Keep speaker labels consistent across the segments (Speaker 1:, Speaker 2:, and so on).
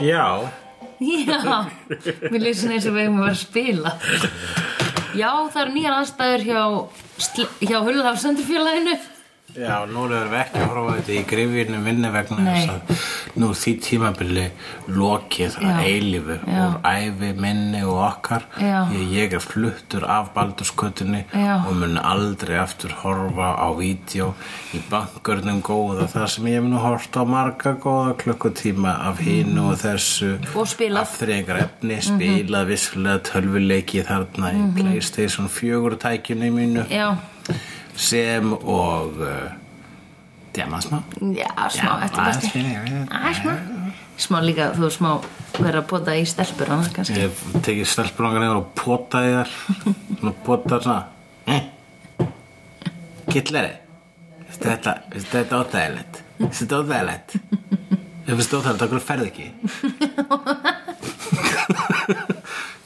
Speaker 1: Já,
Speaker 2: Já, mér lýst svona eins og við eigum að vera að spila Já, það eru nýjar aðstæður hjá, sl- hjá Hullafsöndufélaginu
Speaker 1: já, nú erum við ekki að horfa á þetta í grifinu vinnu vegna
Speaker 2: Nei.
Speaker 1: þess að nú er því tímabili lokið
Speaker 2: Já.
Speaker 1: að eilífu
Speaker 2: Já.
Speaker 1: úr ævi, minni og okkar
Speaker 2: Já.
Speaker 1: ég, ég er fluttur af baldurskötunni
Speaker 2: Já.
Speaker 1: og mun aldrei aftur horfa á vídeo í bankurnum góða þar sem ég hef nú hort á marga góða klukkutíma af hínu og þessu
Speaker 2: Og spilað.
Speaker 1: af frekar efni,
Speaker 2: Mhm.
Speaker 1: spilað vissulega tölvuleiki þarna í Playstation 4 tækjunni mínu
Speaker 2: Já,
Speaker 1: sem og uh, Djamasma
Speaker 2: já, smá, eftir besti Æ, smá Smá líka, þú smá vera að pota í stelpur annars kannski
Speaker 1: Ég tekið stelpunangar yfir og potaði þar Svona potaði svona eh, Kittlari Veistu Þetta veistu þetta er óþægilegt Veistu Þetta er óþægilegt Ef við stóð þar, þá hverju ferð ekki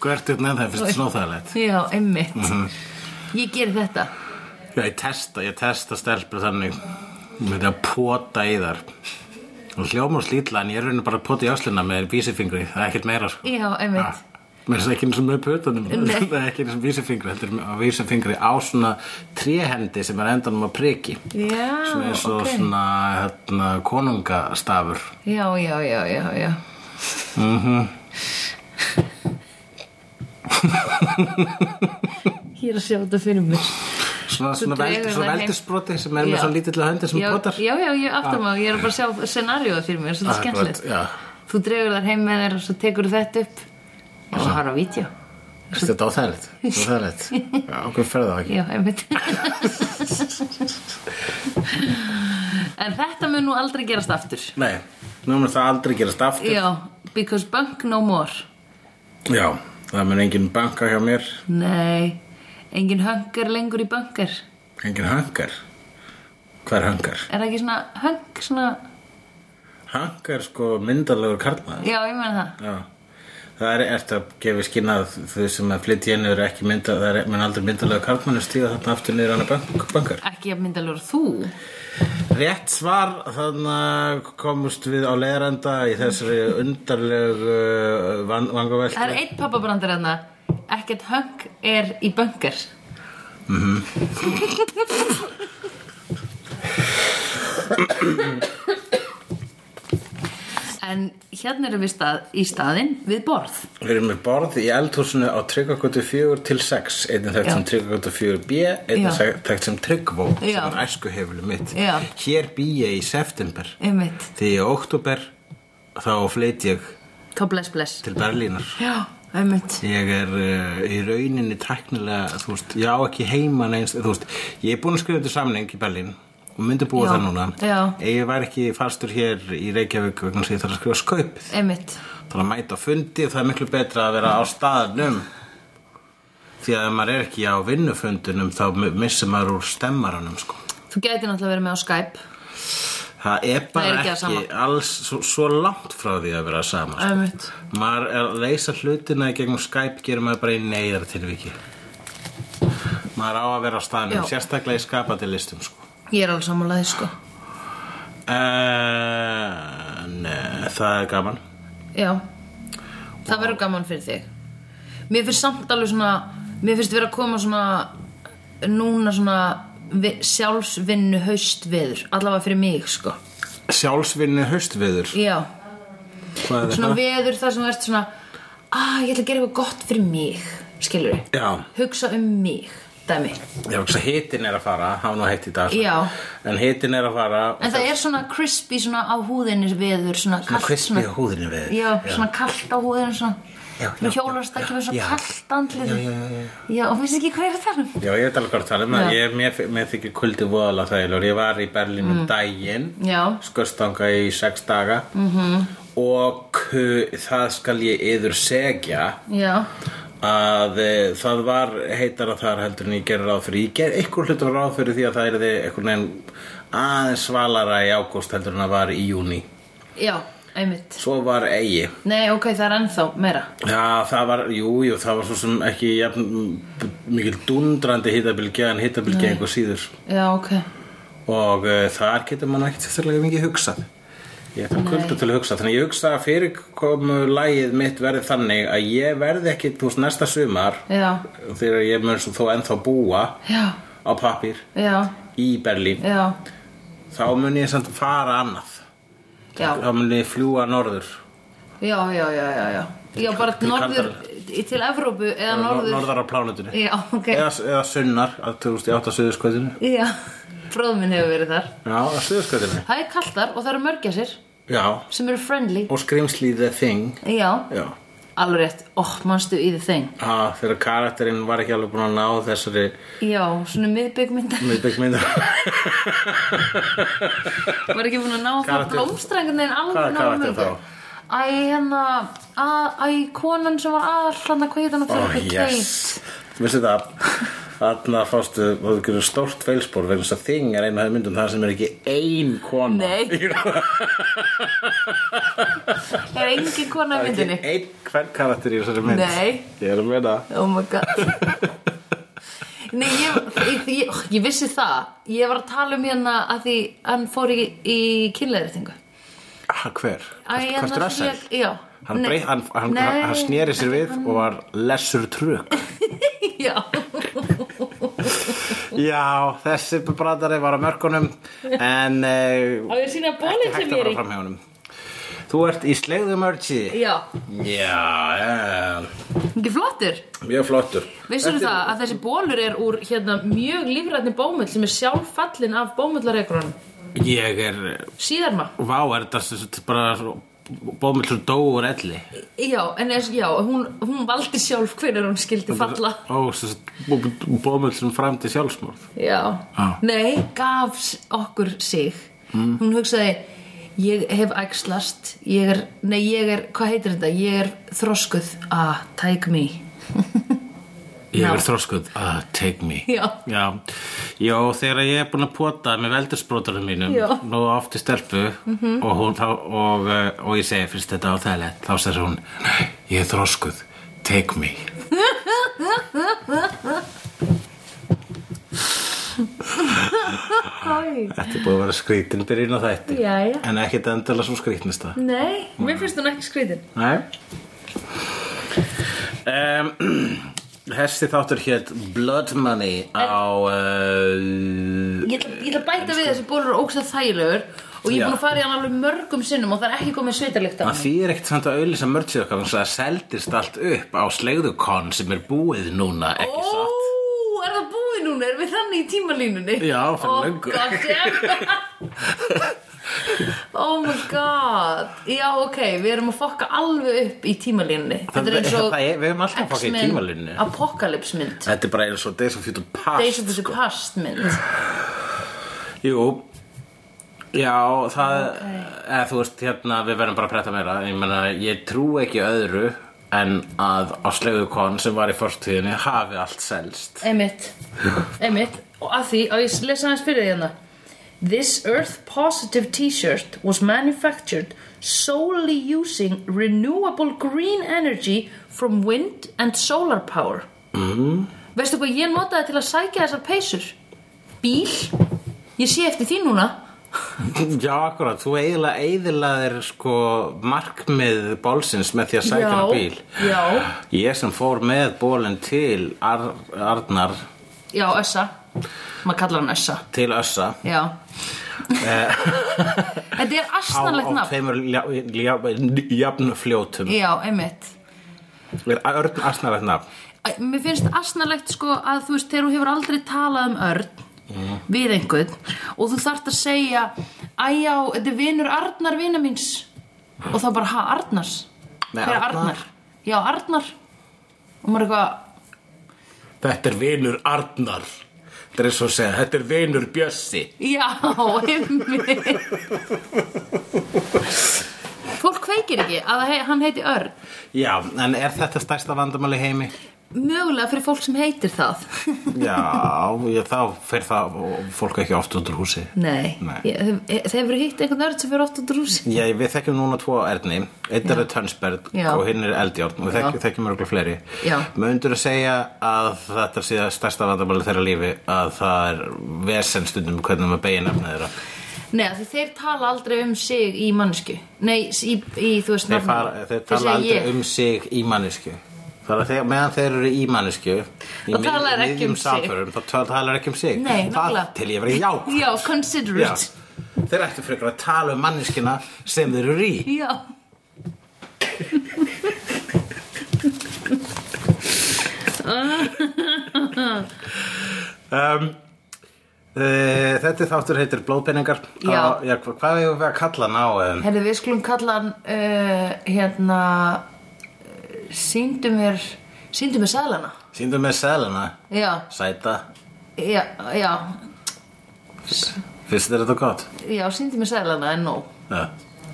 Speaker 1: Hvað ertu upp með það, fyrst þetta er óþægilegt
Speaker 2: Já, Mhm. einmitt Ég geri þetta
Speaker 1: Já, ég testa, ég testa stelpur þannig með því að pota í þar og hljóma og slítla en ég er raunin bara að pota í ásluna með vísifingri það er ekkert meira sko
Speaker 2: Já, einmitt
Speaker 1: Mér er það ekki eins og með putanum
Speaker 2: Nei.
Speaker 1: það er ekki eins og vísifingri þetta er að vísifingri á svona tréhendi sem er endanum að priki
Speaker 2: Já,
Speaker 1: sem er svo
Speaker 2: ok.
Speaker 1: svona hérna, konungastafur
Speaker 2: Já, já, já, já, já Mhm. Ég er að sjá þetta fyrir mér
Speaker 1: svona,
Speaker 2: Svo
Speaker 1: svona, veldi,
Speaker 2: dregur
Speaker 1: svona
Speaker 2: það heim.
Speaker 1: veldisbroti sem er með
Speaker 2: Já.
Speaker 1: svona lítill að hendi sem
Speaker 2: já,
Speaker 1: potar
Speaker 2: já, já, ég aftur maður, ég er bara að sjá scenarióð fyrir mér,
Speaker 1: Ah,
Speaker 2: svolítið skemmtilegt
Speaker 1: Já.
Speaker 2: Þú dregur þar heim með þér og svo tekur þetta upp Já, og har á vídeo
Speaker 1: Veistu, Þetta er óþægilegt Þetta er óþægilegt Já, okkur ferði það ekki
Speaker 2: Já, einmitt En þetta mun nú aldrei gerast aftur
Speaker 1: Nei, nú mér það aldrei gerast aftur
Speaker 2: Já, because bank no more
Speaker 1: Já, það mun engin banka hjá mér
Speaker 2: Nei, engin höngar lengur í bankar Er
Speaker 1: Engin hangar Hvað er hangar?
Speaker 2: það ekki svona höng, svona
Speaker 1: Hangar er sko myndalegur karlmaður
Speaker 2: Já, ég meina það
Speaker 1: Já Það er eftir að gefa skýna að þau sem að flytja henni eru ekki mynda, það er mun aldrei myndalega karlmann að stíða þarna aftur niður hann að bank, bankar.
Speaker 2: Ekki að myndalur þú
Speaker 1: Rétt svar, þannig komust við á leiðrenda í þessari undarlegu uh, van, vangaveltu.
Speaker 2: Það er einn pappabrandar hérna Ekkert höng er í bankar Mhm. En hérna erum við stað, í staðinn við borð
Speaker 1: Við erum með borð í eldhúsinu á Tryggvakotu 4 til 6 einnig þekkt
Speaker 2: Já.
Speaker 1: sem Tryggvakotu 4B einnig
Speaker 2: Já.
Speaker 1: þekkt sem Tryggvó sem
Speaker 2: Já.
Speaker 1: er æskuhefulu mitt
Speaker 2: Já.
Speaker 1: Hér bý ég í september
Speaker 2: Einmitt,
Speaker 1: Því í oktober þá flyt ég
Speaker 2: þá bless bless
Speaker 1: til Berlínar
Speaker 2: Já, einmitt
Speaker 1: Ég er uh, í rauninni tæknilega, þú veist, ég á ekki heima neins, þú veist, ég er búin að skrifa þetta samning í Berlín og myndi búa
Speaker 2: Já.
Speaker 1: það núna
Speaker 2: Já.
Speaker 1: Ef ég var ekki fastur hér í Reykjavík vegna þess að ég þarf að skrifa skaupið
Speaker 2: Einmitt,
Speaker 1: Það er að mæta á fundi og það er miklu betra að vera á staðnum Því að ef maður er ekki á vinnufundunum þá missir maður úr stemmaranum sko.
Speaker 2: þú gæti náttúrulega verið með á Skype
Speaker 1: Það er
Speaker 2: Það
Speaker 1: bara
Speaker 2: er ekki það
Speaker 1: ekki, alls svo, svo langt frá því að vera sama sko.
Speaker 2: Einmitt
Speaker 1: Maður er að leysa hlutina í gegnum Skype gerir maður bara í neyðar tilviki Maður á að vera á staðnum,
Speaker 2: Já.
Speaker 1: sérstaklega í skapandi listum sko.
Speaker 2: Ég er alveg sammálaði sko
Speaker 1: En eh, það er gaman
Speaker 2: Já, það verður gaman fyrir þig Mér finnst samt alveg svona Mér finnst vera að koma svona Núna svona vi, Sjálfsvinnu haust viður Allavega fyrir mig sko
Speaker 1: Sjálfsvinni haustviður
Speaker 2: Já,
Speaker 1: Hvað er
Speaker 2: svona
Speaker 1: það?
Speaker 2: veður þar sem þú ert svona Ah, ég ætla að gera eitthvað gott fyrir mig Skilur við
Speaker 1: Já
Speaker 2: Hugsa um mig, dæmi En
Speaker 1: Ég hugsa hitin er að fara, hafa nú heitt í dag sko.
Speaker 2: Já.
Speaker 1: En hitin er að fara og
Speaker 2: það er svona crispy svona á húðinni veður Svona
Speaker 1: Svona
Speaker 2: kalt
Speaker 1: crispy á húðinni veður.
Speaker 2: Já,
Speaker 1: Já.
Speaker 2: svona kalt á húðinni svona
Speaker 1: Já, já,
Speaker 2: Nú hjólast
Speaker 1: já,
Speaker 2: það kemur
Speaker 1: já.
Speaker 2: svona kalt andlið
Speaker 1: Já, já, já,
Speaker 2: já og finnst ekki hvað ég er að tala um
Speaker 1: Já, ég veit alveg hvað það er maður
Speaker 2: Já.
Speaker 1: ég, mér, mér þykir kuldi voðalega þægilegur Ég var í Berlín um daginn
Speaker 2: Mm. Já. Mhm.
Speaker 1: Skurstanga í sex daga -hmm. Og ku- það skal ég yður segja
Speaker 2: Já,
Speaker 1: að e, það var heitara þar heldur en ég gerir ráð fyrir ég ger eitthvað hlutur ráð fyrir því að það er eitthvað neginn aðeins svalara í ágúst heldur en það var í júni
Speaker 2: já, einmitt
Speaker 1: svo var eigi
Speaker 2: Nei, ok, það er ennþá meira
Speaker 1: Já, það var, jú, jú, það var svo sem ekki jafn, m- mikil dundrandi hittabilgja en hittabilgja einhver síður eh,
Speaker 2: Já, ok
Speaker 1: og uh, þar getur mann ekkert sérstaklega mikið hugsað Ég er það kuldu til að hugsa, þannig ég hugsa að fyrirkomu lagið mitt verði þannig að ég verði ekki, þú veist, næsta sumar
Speaker 2: Já.
Speaker 1: þegar ég mun svo þó ennþá búa
Speaker 2: Já,
Speaker 1: á pappir
Speaker 2: já,
Speaker 1: í Berlín,
Speaker 2: já,
Speaker 1: þá mun ég samt fara annað
Speaker 2: já,
Speaker 1: þá mun ég fljúa norður
Speaker 2: já, já, já, já, já. Já, bara
Speaker 1: Til
Speaker 2: norður, til Evrópu eða norður.
Speaker 1: norðar á plánutunni
Speaker 2: Já, ok.
Speaker 1: eða, eða sunnar, að þú veist, ég átt að suðurskvöldinu
Speaker 2: Já, bróð minn hefur verið þar.
Speaker 1: Já, að suðurskvöldinu
Speaker 2: Það er kaldar og það eru mörgæsir
Speaker 1: Já,
Speaker 2: sem eru friendly.
Speaker 1: og skrimsli the thing
Speaker 2: Já,
Speaker 1: Já,
Speaker 2: alveg rétt. Ó, manstu í þeim.
Speaker 1: að þegar karakterinn var ekki alveg búin að ná þessari Oh,
Speaker 2: Já, svona miðbyggmynda.
Speaker 1: miðbyggmynda
Speaker 2: Var ekki búin að ná það
Speaker 1: Karakter-
Speaker 2: blómstrengun en
Speaker 1: Hvaða
Speaker 2: alveg
Speaker 1: karakter
Speaker 2: náðu mörgæ.
Speaker 1: þá?
Speaker 2: Æ, hérna, að- æ, konan sem var aðall, hérna, hvað hétt hann
Speaker 1: Ó,
Speaker 2: aftur? Eitthvað Kate.
Speaker 1: yes Vissi það, þarna fástu og þú gerir stórt feilspor vegna þess að þing er eina af þeim myndum það sem er ekki ein kona
Speaker 2: Nei. Það er engin kona í
Speaker 1: Það er
Speaker 2: myndinni.
Speaker 1: ekki ein hvern karakter í þessari mynd
Speaker 2: Nei.
Speaker 1: Ég er að meina
Speaker 2: Oh my god Nei, ég, ég, ég, oh, ég vissi það Ég var að tala um hérna að því hann fór í, í kynleiritingu
Speaker 1: Ha, Hver? Hvert er þessar?
Speaker 2: Já
Speaker 1: Hann,
Speaker 2: Nei.
Speaker 1: breyt, hann, hann,
Speaker 2: Nei.
Speaker 1: hann, hann sneri sér við og var lessur trökk
Speaker 2: Já,
Speaker 1: Já, þessi bradari var á mörkunum en uh,
Speaker 2: ég að sýna bólinn
Speaker 1: ekki hægt
Speaker 2: sem
Speaker 1: að
Speaker 2: ég er
Speaker 1: fara
Speaker 2: í?
Speaker 1: fram hjá honum Þú ert í slegðumörgi
Speaker 2: já
Speaker 1: Já, já,
Speaker 2: Ekki flottur
Speaker 1: mjög flottur
Speaker 2: Vissur það að þessi bólur er úr hérna mjög lífrætni bómull sem er sjálf fallin af bómullaregrunum
Speaker 1: Ég er,
Speaker 2: Síðarma
Speaker 1: vá, er þetta sem sagt bara svo- bómull sem dó úr elli
Speaker 2: Já, en eins, já, hún, hún valdi sjálf hvernig hún skildi falla
Speaker 1: Ó, sem sagt, bó- bómull sem framdi sjálfsmorð
Speaker 2: Já,
Speaker 1: Já.
Speaker 2: nei, gaf s- okkur sig Hún hugsaði Ég hef æxlast Ég er, nei, ég er, hvað heitir þetta? Ég er þroskuð, ah, take me
Speaker 1: Ég
Speaker 2: Já.
Speaker 1: er þroskuð, ah, take me
Speaker 2: Já.
Speaker 1: Já, Já, þegar ég er búin að pota með veldursbrótarum mínum
Speaker 2: Já. Mhm.
Speaker 1: nú oft í stelpu og, hún, þá, og, eh, og ég segi fyrst þetta á þægilegt þá segir hún, "Nei, ég er þroskuð take me
Speaker 2: Hæ,
Speaker 1: Þetta er búin að vera skrítin byrjun á þætti
Speaker 2: Jæja.
Speaker 1: en ekkit endilega svo skrítnista
Speaker 2: nei, mér finnst hún ekki skrýtin
Speaker 1: Nei um, Hessi þáttur hétt Blood Money á uh,
Speaker 2: Ég ætla, ég ætla að bæta við þessi bólur og ógstað þægilegur Og ég
Speaker 1: Sko.
Speaker 2: er
Speaker 1: Já.
Speaker 2: búin að fara í hann alveg mörgum sinnum Og það er ekki komið sveitarlíkt á
Speaker 1: Það
Speaker 2: hann
Speaker 1: þýðir ekkert samt að auðlýsa mörgsið okkar þannig að það seldist allt upp á sleigðukon sem er búið núna, ekki
Speaker 2: Ó,
Speaker 1: satt?
Speaker 2: er það búið núna? Erum við þannig í tímalínunni?
Speaker 1: Já, fyrir löngu.
Speaker 2: Oh, god damn Oh my god Já, ok, við erum að fokka alveg upp í tímalínunni Þetta er eins og
Speaker 1: það er- við erum alltaf að fokka í
Speaker 2: X-Men
Speaker 1: tímalínunni.
Speaker 2: Apocalypse mynd
Speaker 1: Þetta er bara eins og Days of Future
Speaker 2: Days
Speaker 1: Past
Speaker 2: of the Past mynd
Speaker 1: Jú, já, það eða, þú veist, hérna, við verðum bara að pretta meira ég meina, ég trú ekki öðru en að á sleigðukon sem var í fortíðinni hafi allt selst
Speaker 2: Einmitt Einmitt Og að því, og ég lesa aðeins fyrir því hérna This Earth Positive T-shirt was manufactured solely using renewable green energy from wind and solar power mm. Veistu hvað ég notaði til að sækja þessar peysur? Bíl Ég sé eftir því núna
Speaker 1: Já, akkurat, þú eiginlega eiginlega sko markmið bólsins með því að sækja
Speaker 2: Já,
Speaker 1: hann bíl
Speaker 2: já.
Speaker 1: Ég sem fór með bólinn til Ar Arnar
Speaker 2: Já, Össa Maður kallar hann Össa
Speaker 1: til Össa
Speaker 2: Já Þetta er
Speaker 1: Eh. á,
Speaker 2: asnalegt
Speaker 1: á
Speaker 2: nafn
Speaker 1: tveimur ljá- ljá- jafnfljótum
Speaker 2: Já, einmitt
Speaker 1: er örn asnalegt nafn
Speaker 2: Æ, Mér finnst asnalegt sko að þú veist þegar þú hefur aldrei talað um örn við einhvern og þú þarft að segja æjá, þetta er vinur Arnar vina míns og þá bara, ha, Arnars
Speaker 1: Nei,
Speaker 2: Hver er
Speaker 1: Arnar.
Speaker 2: Arnar? Já, Arnar og maður eitthvað
Speaker 1: þetta er vinur Arnar þetta er eins og að segja, þetta er vinur Bjössi
Speaker 2: Já, einmitt Fólk kveikir ekki að það he hann heiti Örn
Speaker 1: já, en er þetta stærsta vandamáli heimi?
Speaker 2: Mögulega fyrir fólk sem heitir það
Speaker 1: já, ég, þá fer það fólk ekki oft út úr húsi
Speaker 2: Nei,
Speaker 1: Nei.
Speaker 2: Ég, þeir, þeir eru hitt einhvern örn sem fyrir oft út úr húsi
Speaker 1: Já, við þekkjum núna tvo erni Einn er Tönsberg
Speaker 2: Já.
Speaker 1: og hinn er Eldjárn og við þekkjum, þekkjum mörgulega fleiri
Speaker 2: Já.
Speaker 1: Möndur að segja að þetta sé að stærsta vandamáli þeirra lífi að það er vesensstundum hvernig maður beigja nafnið þeirra
Speaker 2: Nei, af því þeir tala aldrei um sig í mannsku Nei, í, í þú veist
Speaker 1: Þeir,
Speaker 2: nafninu.
Speaker 1: fara, þeir tala
Speaker 2: segja
Speaker 1: aldrei
Speaker 2: ég.
Speaker 1: um sig í mannesku Það er að þeir, meðan þeir eru í mannesku
Speaker 2: Þá tala þeir ekki um sig.
Speaker 1: Þá tala tala þeir ekki um sig
Speaker 2: Nei,
Speaker 1: Það
Speaker 2: nefnilega.
Speaker 1: til ég verið já,
Speaker 2: Já, consider
Speaker 1: já.
Speaker 2: it
Speaker 1: Þeir ættu frekar að tala um manneskina sem þeir eru í
Speaker 2: Já
Speaker 1: um, uh, Þetta þáttur heitir Blóðpenningar
Speaker 2: Já.
Speaker 1: Á- já, hva- Hvað hefur við að kalla hann á? Um,
Speaker 2: Herðu, við skulum kalla hann uh, hérna uh, sýndu mér sýndu mér sæðlana
Speaker 1: Sýndum með selina
Speaker 2: Já,
Speaker 1: Sæta
Speaker 2: já, já
Speaker 1: Fyrst er þetta gott
Speaker 2: Já, sýndu mér sæðlana en nóg
Speaker 1: ja.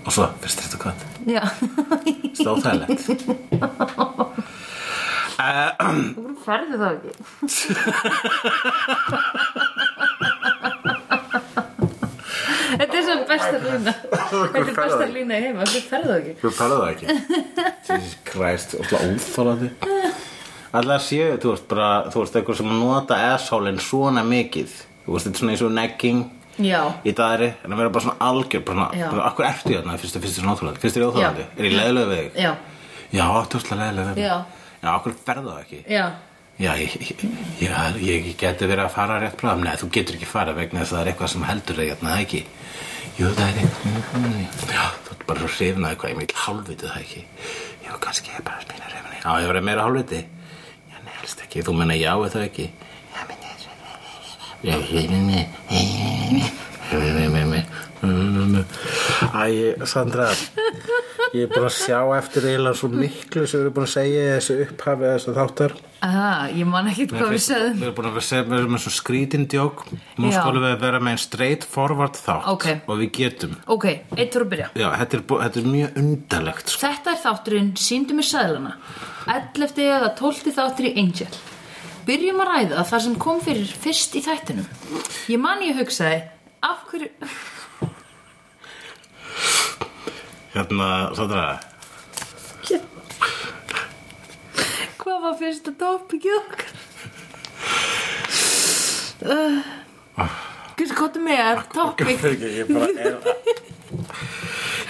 Speaker 1: Og svo, fyrst er þetta gott
Speaker 2: Já,
Speaker 1: Stóðhæðilegt
Speaker 2: þú færði það ekki Þetta er svo besta lína Þetta er besta lína í heima, þú færði það ekki
Speaker 1: Þú talaðu það ekki Jesus Christ, alltaf óþólandi Alltaf séu, þú veist bara Þú veist, eitthvað sem nota asshole svona mikið Þú veist, þetta er svona eins og negging
Speaker 2: Já,
Speaker 1: í dagri En að vera bara svona algjör bara
Speaker 2: Já.
Speaker 1: svona, bara, Akkur ertu hérna, fyrst er fyrst er svona óþólandi Fyrst er óþólandi,
Speaker 2: Já.
Speaker 1: er ég leðlega við þig
Speaker 2: já,
Speaker 1: Já, þú veist að leðlega við mig
Speaker 2: Já.
Speaker 1: Já, akkur ferðu það ekki
Speaker 2: já
Speaker 1: Já, ég, ég, ég, ég geti verið að fara rétt bráðum Nei, þú getur ekki fara vegna þess að það er eitthvað sem heldur þig hérna það ekki Jú, það er eitthvað Já, þú ert bara hrifin að eitthvað Ég vil hálfviti það ekki Jú, kannski ég er bara spina hrifin Já, ég verið meira hálfviti Já, nei, helst ekki, þú menna já eða ekki Já, menn ég Já, hrifin mig Æ, Sandra Ég er búin að sjá eftir eiginlega svo miklu sem við erum búin að segja í þessu upphafið þessu þáttar
Speaker 2: Aha, ég man ekkert hvað við sögðum
Speaker 1: Við erum búin að vera að segja, við erum með svo skrítin djók Nú
Speaker 2: Já.
Speaker 1: skulum við að vera með einn straight forward þátt
Speaker 2: Ok.
Speaker 1: Og við getum
Speaker 2: Ok, eitt fyrir að byrja
Speaker 1: Já, þetta er, bú- þetta er mjög undarlegt sko.
Speaker 2: Þetta er þátturinn Sýndu mér sæðlana 11. eða 12. þáttur í Angel Byrjum að ræða það sem kom fyrir fyrst í þættinum Ég man ég hugsaði Af hverju
Speaker 1: Hérna, Sandra
Speaker 2: Hvað var fyrsta tópikið okkar?
Speaker 1: Ah.
Speaker 2: Hversu gott með tópik
Speaker 1: Ég bara er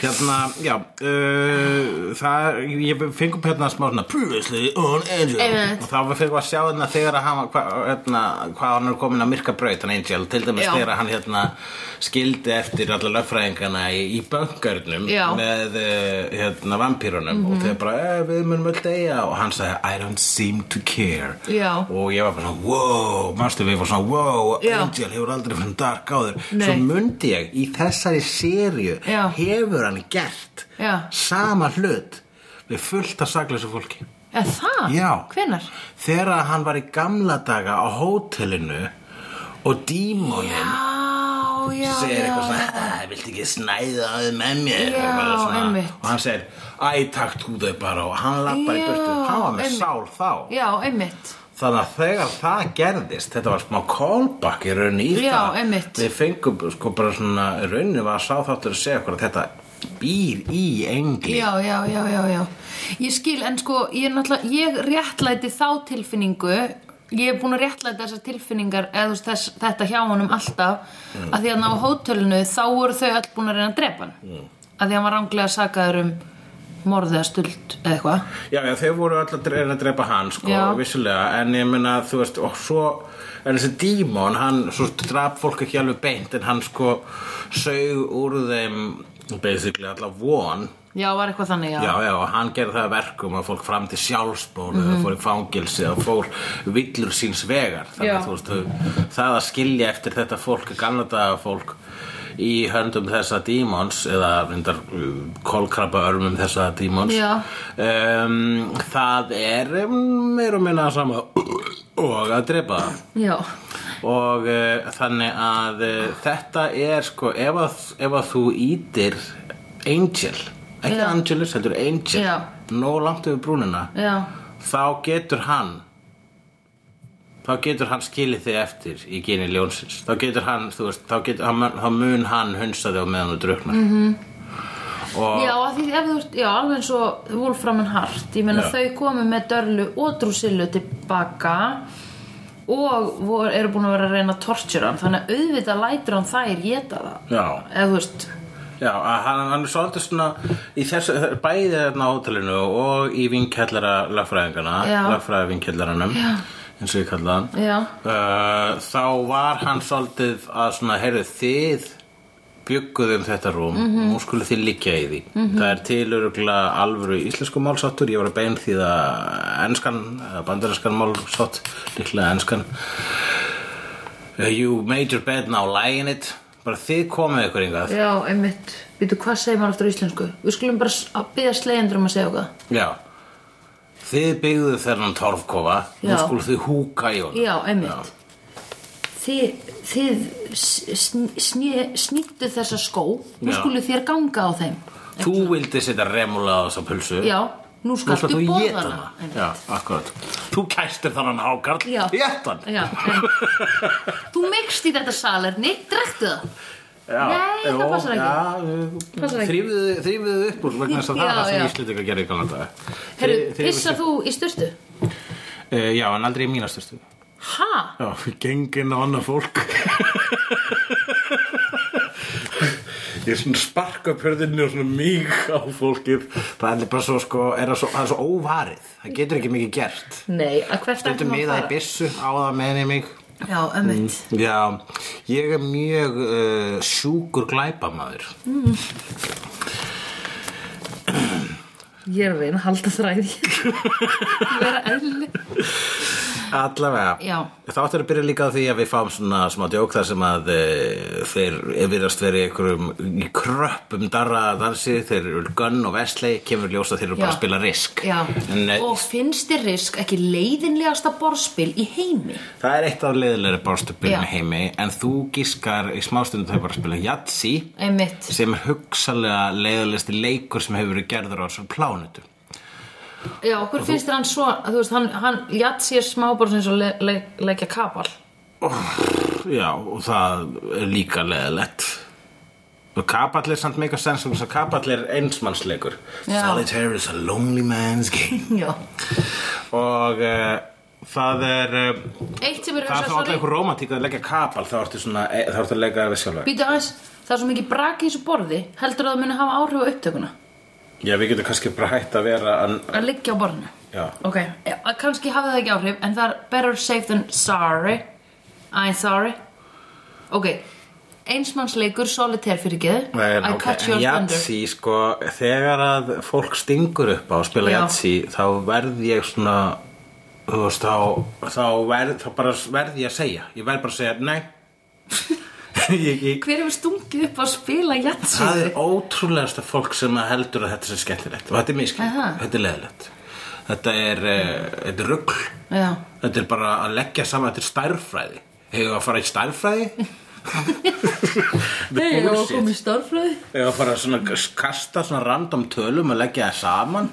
Speaker 1: Hérna, já uh, Það, ég fengum hérna smá svona Previously on Angel
Speaker 2: Einmitt.
Speaker 1: Og þá við fengum að sjá hérna þegar að hann hva, hérna, Hvað hann er komin að myrka braut Hann Angel, til dæmis
Speaker 2: Já.
Speaker 1: þegar hann hérna Skildi eftir alla löffræðingana Í, í böngarnum
Speaker 2: Já. Mhm.
Speaker 1: Með uh, hérna vampírunum Og þeir bara, eh, við munum öll deyja Og hann sagði, I don't seem to care
Speaker 2: Já.
Speaker 1: Og ég var bara svona, wow Manstu við var svona, wow,
Speaker 2: Já.
Speaker 1: Angel hefur aldrei fann dark áður
Speaker 2: Nei.
Speaker 1: Svo mundi ég í þessari sériu
Speaker 2: Já.
Speaker 1: hefur hann gert
Speaker 2: Já.
Speaker 1: sama hlut við fullt af saklausu fólki.
Speaker 2: Er það?
Speaker 1: Já.
Speaker 2: Hvenær?
Speaker 1: Þegar hann var í gamla daga á hótelinu og dímonin
Speaker 2: Já, já,
Speaker 1: segir eitthvað
Speaker 2: já
Speaker 1: svona, "Ah, viltu ekki snæða að þið með mér?
Speaker 2: Já,
Speaker 1: Eitthvað
Speaker 2: einmitt.
Speaker 1: Og hann segir, æ, takk þú þau bara og hann lappar í
Speaker 2: Já,
Speaker 1: burtu. Hann var með
Speaker 2: einmitt.
Speaker 1: sál þá.
Speaker 2: Já, einmitt
Speaker 1: Þannig að þegar það gerðist, þetta var smá callback í rauninni í
Speaker 2: Já,
Speaker 1: það.
Speaker 2: einmitt.
Speaker 1: Við fengum sko bara svona, í rauninni var sá þáttur að segja okkur að þetta býr í engli.
Speaker 2: Já, já, já, já, já. Ég skil, en sko, ég, er náttúrulega- ég réttlæti þá tilfinningu, ég er búin að réttlæta þessar tilfinningar, eða þú veist, þess, þetta hjá honum alltaf,
Speaker 1: Mm.
Speaker 2: að því að ná hótelinu, þá voru þau öll búin að reyna að drepa hann. Mm. Að því að hann var ranglega sakaður um morðið að stult eða eitthvað.
Speaker 1: Já, já, þau voru öll að reyna að drepa hann, sko,
Speaker 2: Já.
Speaker 1: vissulega, en ég meina, þú veist, og svo, en þessi dímon, hann, svo draf fólk ekki alveg beint, en hann sko sög úr þeim, basically, alla von.
Speaker 2: Já, var eitthvað þannig, já.
Speaker 1: Já, já, og hann gerði það að verkum að fólk fram til sjálfsbónu mm
Speaker 2: Mhm.
Speaker 1: fór í fangilsi og fór villur síns vegar þannig
Speaker 2: Já.
Speaker 1: að þú veist, þau- það að skilja eftir þetta fólk, ganladaga fólk í höndum þessa dímons eða reyndar kolkrabba örmum þessa dímons
Speaker 2: Já.
Speaker 1: um, það er um, meir og minna sama og að drepa það
Speaker 2: Já,
Speaker 1: og uh, þannig að uh, þetta er sko ef að, ef að þú ítir Angel, ekki
Speaker 2: Já.
Speaker 1: Angelus heldur Angel,
Speaker 2: Já.
Speaker 1: nóg langt yfir brúnina
Speaker 2: já,
Speaker 1: þá getur hann þá getur hann skilið þig eftir í geni ljónsins, þá getur hann þú veist, þá, getur, hann, mun- þá mun hann hunsa þig á meðan þú druknar mm
Speaker 2: Mhm.
Speaker 1: -hmm. og
Speaker 2: já, að því ef þú ert, já, alveg eins og Wolfram and Hart, ég meina
Speaker 1: Já.
Speaker 2: þau komu með Dörlu og Drúsillu tilbaka og vor, eru búin að vera að reyna að tortjura hann þannig að auðvitað lætur hann þær geta það
Speaker 1: Já.
Speaker 2: eða þú veist
Speaker 1: Já, að hann, hann er svolítið svona í þessu, bæði þarna á hótelinu og í vinkjallara lagfræðingana
Speaker 2: Já.
Speaker 1: lagfræði vinkellaranum eins og ég kalla hann
Speaker 2: Já.
Speaker 1: uh, þá var hann svolítið að svona, heyrðu þið bygguð um þetta rúm
Speaker 2: Mhm.
Speaker 1: og nú skulle þið liggja í því það er til örugla alvöru íslensku málsáttur ég var að bein því það enskan, bandarinskan málsátt líklega enskan uh, you made your bed now lie in it bara þið komið ykkur yngað
Speaker 2: Já, einmitt, býtu hvað segir maður aftur á íslensku við skulum bara s- að byggja slegjendur um að segja okkar
Speaker 1: Já Þið byggðu þennan torfkofa Nú
Speaker 2: Já.
Speaker 1: skulu þið húka í honum
Speaker 2: Já, einmitt Þið, þið sn- sn- snýttu þessa skó nú
Speaker 1: Já.
Speaker 2: skulu þér ganga á þeim
Speaker 1: Þú vildi setja remúla á þessa pulsu
Speaker 2: Já, nú
Speaker 1: Nú skal
Speaker 2: skaltu
Speaker 1: þú
Speaker 2: borða
Speaker 1: geta
Speaker 2: hana
Speaker 1: hana
Speaker 2: Einmitt.
Speaker 1: Já, akkurat Þú kæstir þannan hákarl
Speaker 2: Já.
Speaker 1: Étt hann
Speaker 2: Já, en, þú mikst í þetta salerni, drektu það
Speaker 1: Já,
Speaker 2: Nei, það
Speaker 1: jú,
Speaker 2: passar ekki.
Speaker 1: já,
Speaker 2: Passar ekki.
Speaker 1: Þrýfðu þrýfðu þið upp úr vegna þess að það er
Speaker 2: Já,
Speaker 1: það sem
Speaker 2: já.
Speaker 1: Íslendingar gerir í gamla dag
Speaker 2: Herru, pissa þú í styrtu?
Speaker 1: Eh, Já, en aldrei í mínastustu
Speaker 2: Ha?
Speaker 1: Já, gengin á annað fólk Ég er svona sparka upp hörðinni og svona míg á fólkið Það er bara svo, sko, er það svo, það er svo óvarið Það getur ekki mikið gert
Speaker 2: Nei, að hvert ættum
Speaker 1: Stundum
Speaker 2: við
Speaker 1: miðað í byssu á það meðinni mig
Speaker 2: Já, ömmit
Speaker 1: Já, ég er mjög uh, sjúkur glæpamaður
Speaker 2: Mm. Ég er að reyna að halda þræði Ég er að eðli
Speaker 1: Allavega
Speaker 2: Já.
Speaker 1: Þá áttur að byrja líka á því að við fáum svona smá djók þar sem að e, þeir virðast verið í einhverjum í kröppum darra dansi þeir eru gönn og vestlei kemur ljósa þeir eru bara
Speaker 2: Já.
Speaker 1: að spila risk
Speaker 2: Já,
Speaker 1: en e,
Speaker 2: og finnst þér risk ekki leiðinlegasta borðspil í heimi?
Speaker 1: það er eitt af leiðilegri bárstupinu
Speaker 2: Já.
Speaker 1: heimi en þú gískar í smástund þau bara að spila jatsi
Speaker 2: Einmitt
Speaker 1: sem er hugsalega leiðilegsti leikur sem hefur verið gerður á þessum plánutum
Speaker 2: Já, okkur finnst þér hann svo, þú veist, hann, hann jatt sér smá bara sem svo le, le, leggja kapal
Speaker 1: Já, og það er líka leðilegt Og kapall er samt meika sens og kapall er einsmannsleikur
Speaker 2: Já.
Speaker 1: Solitaire is a lonely man's game
Speaker 2: Já
Speaker 1: Og uh, það er uh,
Speaker 2: Eitt sem er
Speaker 1: Það er þá alltaf einhver romantík að leggja kapall þá ertu, svona, e, þá ertu að leggja það við sjálfa
Speaker 2: Býtu aðeins, það er svo mikið brak í þessu borði heldur að það muni hafa áhrif á upptökuna
Speaker 1: Já, við getum kannski bara hætt að vera að,
Speaker 2: að liggja á borðinu
Speaker 1: Já.
Speaker 2: ok, eh, kannski hafði það ekki áhrif en það er better safe than sorry I'm sorry ok, einsmannsleikur solitaire fyrir geðu
Speaker 1: Nei,
Speaker 2: I
Speaker 1: ok,
Speaker 2: cut
Speaker 1: en
Speaker 2: your thunder
Speaker 1: Jatsi, sko, þegar að fólk stingur upp á að spila
Speaker 2: Já.
Speaker 1: Jatsi þá verð ég svona þú veist, þá, þá, verð, þá bara verð ég að segja ég verð bara að segja, nei ég, ég,
Speaker 2: hver hefur stungið upp á að spila jatsi
Speaker 1: það er ótrúlegasta fólk sem að heldur að þetta sé skemmtilegt og þetta er miskilegt,
Speaker 2: Aha.
Speaker 1: þetta er leðilegt þetta er, uh, þetta er rugl
Speaker 2: já,
Speaker 1: þetta er bara að leggja saman þetta er stærfræði hefur að fara í stærfræði
Speaker 2: hei, ég var að
Speaker 1: Bullshit.
Speaker 2: koma í starfræði
Speaker 1: Ég var bara svona að kasta svona random tölum og leggja það saman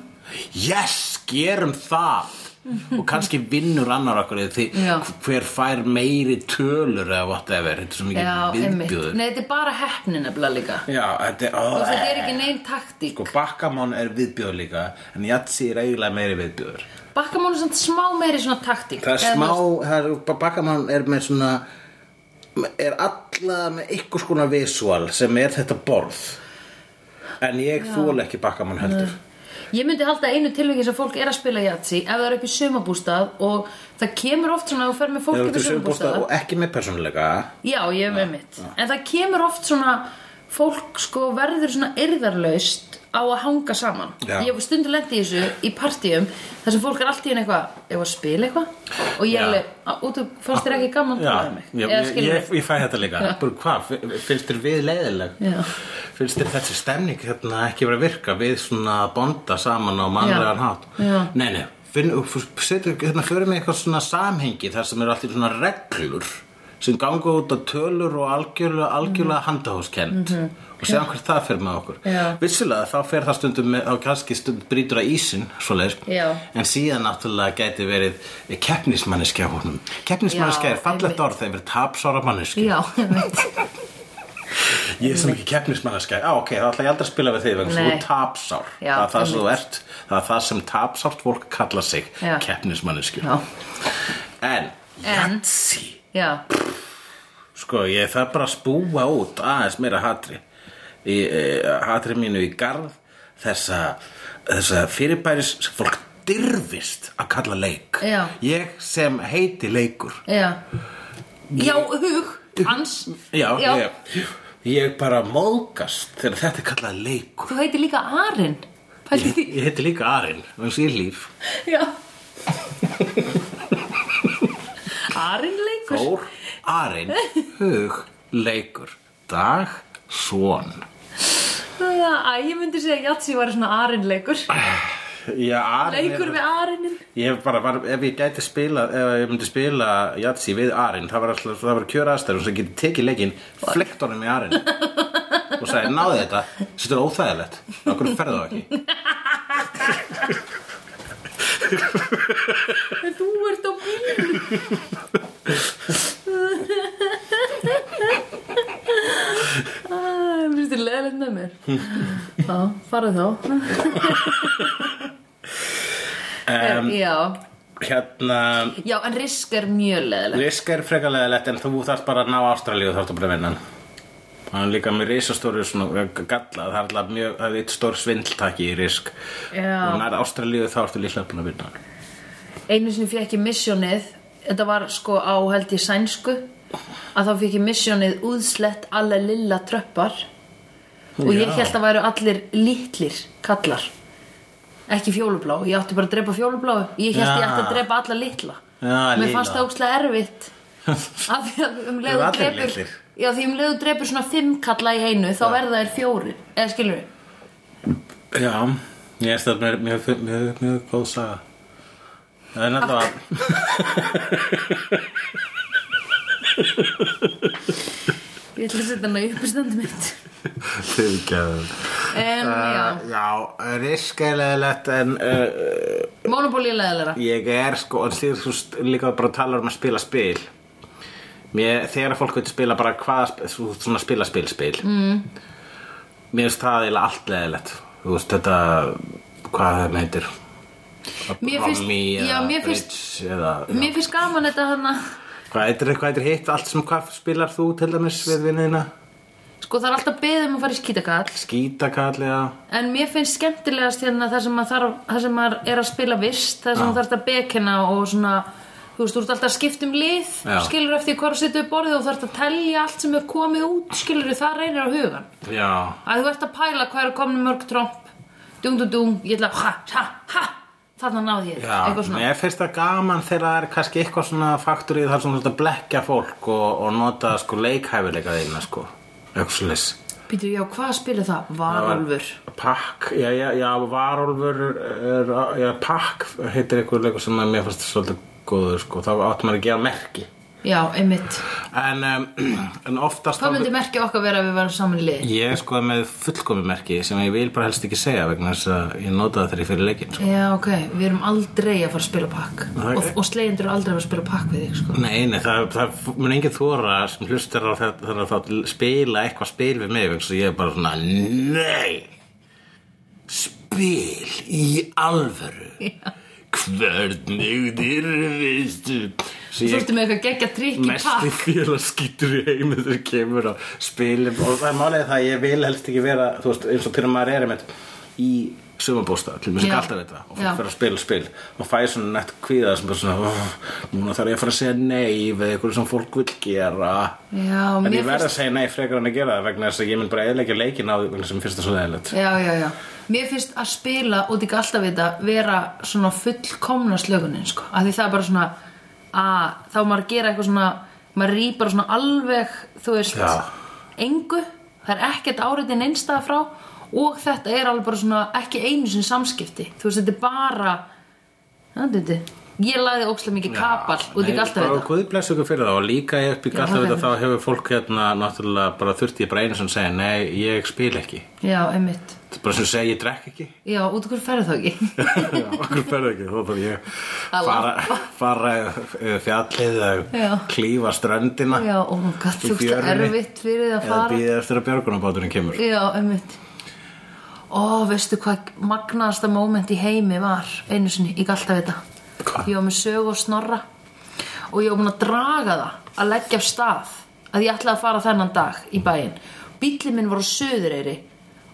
Speaker 1: Yes, gerum það Og kannski vinnur annar okkur eða því
Speaker 2: Já.
Speaker 1: hver fær meiri tölur eða whatever Þetta er svo
Speaker 2: já,
Speaker 1: mikið
Speaker 2: einmitt,
Speaker 1: viðbjöður
Speaker 2: nei, þetta er bara heppni nefnilega líka
Speaker 1: Já, þetta er,
Speaker 2: og þetta er
Speaker 1: oh,
Speaker 2: ekki neinn taktík
Speaker 1: Sko, bakkamón er viðbjöður líka En Jatsi er eiginlega meiri viðbjöður
Speaker 2: bakkamónu er samt smá meiri svona taktík
Speaker 1: Það er
Speaker 2: Eða,
Speaker 1: smá,
Speaker 2: þú
Speaker 1: það er, bakkamón er með svona Er alla með einhvers konar visual sem er þetta borð En ég þóla ekki bakkamón heldur
Speaker 2: veist, ég myndi halda einu tilviki sem fólk er að spila jatsi ef það er upp í sumabústað og það kemur oft svona að þú fer með
Speaker 1: Ef
Speaker 2: fólk
Speaker 1: þú
Speaker 2: upp
Speaker 1: ertu
Speaker 2: í
Speaker 1: sögumbústa
Speaker 2: sumabústað
Speaker 1: og ekki með persónuleika
Speaker 2: Já, ég hef einmitt En það kemur oft svona fólk sko verður svona erðarlaust á að hanga saman
Speaker 1: Já.
Speaker 2: Ég hef stundu lendi í þessu í partíum þar sem fólk er allt í enn eitthvað ef að spila eitthvað og ég
Speaker 1: Já.
Speaker 2: er alveg, "Á, út og fannst þér ekki gaman að tala um mig
Speaker 1: já,
Speaker 2: Eða
Speaker 1: ég,
Speaker 2: skilur
Speaker 1: ég, ég fæ þetta líka Bara hvað, fi- finnst þér við leiðileg?
Speaker 2: Já.
Speaker 1: Finnst þér þessi stemning hérna ekki verið að virka Við svona bonda saman á mannlegan
Speaker 2: Já.
Speaker 1: hátt
Speaker 2: Já.
Speaker 1: Nei, nei, finn, f- setur, hérna, fyrir mig eitthvað svona samhengi Þar sem eru allt í svona reglur Sem ganga út á tölur og algjörlega, algjörlega handahúskend Og segja hvert það fyrir með okkur
Speaker 2: Mhm. Já.
Speaker 1: Vissulega þá fer það stundum með, Þá kannski stundum brýtur að ísin Svoleiðis
Speaker 2: Já.
Speaker 1: En síðan náttúrulega gæti verið keppnismanneskja á honum. Keppnismanneskja
Speaker 2: Já,
Speaker 1: er fallegt
Speaker 2: einmitt.
Speaker 1: orð þegar við tapsára manneskja.
Speaker 2: Já, ég veit
Speaker 1: Ég er sem ekki keppnismanneskja. Á, ok, þá ætla ég aldrei að spila við þig vegna þess að
Speaker 2: Nei.
Speaker 1: þú tapsár.
Speaker 2: Já,
Speaker 1: það er það sem þú
Speaker 2: einmitt.
Speaker 1: ert. Það er það sem tapsárt fólk kalla sig
Speaker 2: Já.
Speaker 1: keppnismanneskju.
Speaker 2: Já,
Speaker 1: En
Speaker 2: en,
Speaker 1: Hatsi
Speaker 2: já,
Speaker 1: Sko, ég þarf bara að spúa út aðeins meira hatri í, e, hatri mínu í garð þessa, þessa fyrirbæris sem fólk dyrfist að kalla leik
Speaker 2: Já.
Speaker 1: ég sem heiti leikur
Speaker 2: já já, hug, hans
Speaker 1: já, Ég, ég bara móðgast þegar þetta er kallað leikur
Speaker 2: þú heitir líka Arin pælti því,
Speaker 1: ég heiti líka Arin og ég líf
Speaker 2: já Arin leikur
Speaker 1: Þór, Arin, hug, leikur dag, son
Speaker 2: Æ, ég myndi segja að Jatsi var svona Arin leikur
Speaker 1: já, Arin
Speaker 2: leikur við Arinin
Speaker 1: Ég hef bara, var, ef ég gæti spila, ef ég myndi spila Jatsi við Arinn, það var alltaf, það var kjöraðstæður sem geti tekið leikinn, flekt honum í Arinn og sagði, náðu þetta, þetta er óþægilegt, okkur ferðu það ekki.
Speaker 2: En þú ert á bílum Það finnst þér leðilegt með mér Já, farið þá
Speaker 1: Um,
Speaker 2: Já,
Speaker 1: hérna,
Speaker 2: já en risk er mjög leðilegt
Speaker 1: risk er frekalega lett en þú þarft bara að ná Ástralíu og þarft að bara vinna hann. Það er líka með risastóru svona eh, galla, það er alltaf mjög, það er eitt stór svindltaki í risk
Speaker 2: Já.
Speaker 1: og nær Ástralíu þá ertu líklega búin að vinna hann.
Speaker 2: Einu sinni fékk ég misjónið Þetta var sko á held ég sænsku að þá fékk ég misjónið úðslett alla lilla tröppar og ég
Speaker 1: Já.
Speaker 2: held að væru allir litlir kallar ekki fjólublá, ég átti bara að drepa fjólubláu ég held ég
Speaker 1: Já.
Speaker 2: ætti að drepa alla litla
Speaker 1: Já,
Speaker 2: mér
Speaker 1: lilla.
Speaker 2: fannst það ókslega erfitt af því að um
Speaker 1: Eru
Speaker 2: leiðu
Speaker 1: allir
Speaker 2: drepur
Speaker 1: litlir?
Speaker 2: já, því um leiðu drepur svona fimm kalla í einu þá verða þær fjóri, eða skilur við
Speaker 1: Já, ég veist að mér mjög, mjög, mjög góð saga Það er náttúrulega
Speaker 2: ég ætla að setja hana í uppistandi mitt
Speaker 1: Fylgjaður
Speaker 2: en já,
Speaker 1: Eh, Já, riskælegilegt en uh,
Speaker 2: monopóli leðilega
Speaker 1: ég er sko en því þú st- líka bara talar um að spila spil mér, þegar fólk veit spila bara hvaða sp- þú- svona spila spil spil mm. mér finnst það eiginlega allt leðilegt þú veist þetta hvað það meitir
Speaker 2: Mér finnst- já, mér finnst-
Speaker 1: eða,
Speaker 2: Mér finnst gaman þetta hana
Speaker 1: Hvað heitir, hvað heitir hitt allt sem hvað spilar þú til dæmis við vinniðina?
Speaker 2: Sko það er alltaf beðið um að fara í skítakall
Speaker 1: Skítakall eða?
Speaker 2: En mér finnst skemmtilegast hérna það sem maður, þarf, það sem maður er að spila vist Það sem þú þarft að bekina og svona Þú veist, þú ert alltaf að skipta um lið
Speaker 1: Já.
Speaker 2: Skilur eftir hvað þú setur upp borðið og þú þarft að telja allt sem er komið út Skilur það reynir á hugan
Speaker 1: Já.
Speaker 2: Að þú ert að pæla hvað er að komna mörg tromp Dung, dung, dung, ég ætla að ha, ha, ha Þannig náði ég
Speaker 1: Já,
Speaker 2: eitthvað svona
Speaker 1: mér finnst það gaman þegar það er kannski eitthvað svona faktorið þar sem þú ert að blekja fólk og, og nota sko leikhæfileika þína sko. Eitthvað slis.
Speaker 2: Býtu, já, hvað spila það? Varólfur
Speaker 1: Pakk, já, já, já, varólfur, er, já, pakk heitir eitthvað leikur sem að mér fannst svolítið góður sko. Þá átt maður að gera merki.
Speaker 2: Já, einmitt
Speaker 1: En, um, en oftast...
Speaker 2: Hvað myndi merkja okkar vera að við varum saman í liði?
Speaker 1: Ég er sko með fullkomi merki sem ég vil bara helst ekki segja vegna þess að ég nota það þegar ég fyrir leikinn sko.
Speaker 2: Já, ok, við erum aldrei að fara að spila pakk
Speaker 1: Nei.
Speaker 2: og, og slegjendur eru aldrei að fara að spila pakk við þig sko.
Speaker 1: Nei, nei, það, það mun engin þóra sem hlustar á þetta þannig að þá spila eitthvað spil við mig vegna þess að ég er bara svona Nei, spil í alvöru Hvernig dyrfistu
Speaker 2: Svo ertu með eitthvað geggja trikk í
Speaker 1: mesti
Speaker 2: pakk
Speaker 1: félagskýtur í heimi þegar kemur á spilum og það er málið það að ég vil helst ekki vera þú veist, eins og þegar maður er einmitt í sumabósta, til mér sem
Speaker 2: Já.
Speaker 1: alltaf þetta og
Speaker 2: Já.
Speaker 1: fólk fyrir að spila spil og fæ svona nett kvíða sem bara svona "Ugh, núna þarf ég að fara að segja nei við eitthvað sem fólk vil gera
Speaker 2: Já,
Speaker 1: en
Speaker 2: mér
Speaker 1: ég verð að segja nei frekar en að gera það vegna þess að ég mun bara eðleggja leikin á því vegna sem fyrst það svo leðilegt
Speaker 2: Já, já, já Mér finnst að spila út í galtavita vera svona fullkomna slögunin sko. af því það er bara svona að þá á maður að gera eitthvað svona maður rýpar svona alveg þú veist,
Speaker 1: Já.
Speaker 2: engu það er ekkert áriðin einstæða frá og þetta er alveg bara svona ekki einu sinni samskipti, þú veist, þetta er bara það er þetta ég lagði ókslega mikið kapal út í
Speaker 1: bara
Speaker 2: galtavita
Speaker 1: Guð blessu ykkur fyrir það og líka upp í galtavita
Speaker 2: það
Speaker 1: þá hefur fólk hérna náttúrulega bara þurfti ég bara einu sem segja nei, ég spil ekki
Speaker 2: Já, einmitt
Speaker 1: Þetta er bara sem að segja ég drekk ekki
Speaker 2: Já, út okkur ferði þá ekki
Speaker 1: Okkur ferð ekki, þá þarf ég
Speaker 2: Að
Speaker 1: fara, fara yfir fjallið
Speaker 2: Já.
Speaker 1: að klífa ströndina
Speaker 2: Já, og hún gatt þú veist að erfitt fyrir það að
Speaker 1: Eða
Speaker 2: fara
Speaker 1: býða eftir að björgunabáturinn kemur
Speaker 2: Já, einmitt Ó, veistu hvað magnaðasta moment í heimi var einu sinni, ég galt að vita
Speaker 1: Hvað?
Speaker 2: Ég var með sög og snorra og ég var búin að draga það að leggja af stað að ég ætlaði að fara þennan dag í bæinn bíllinn minn var á söðureyri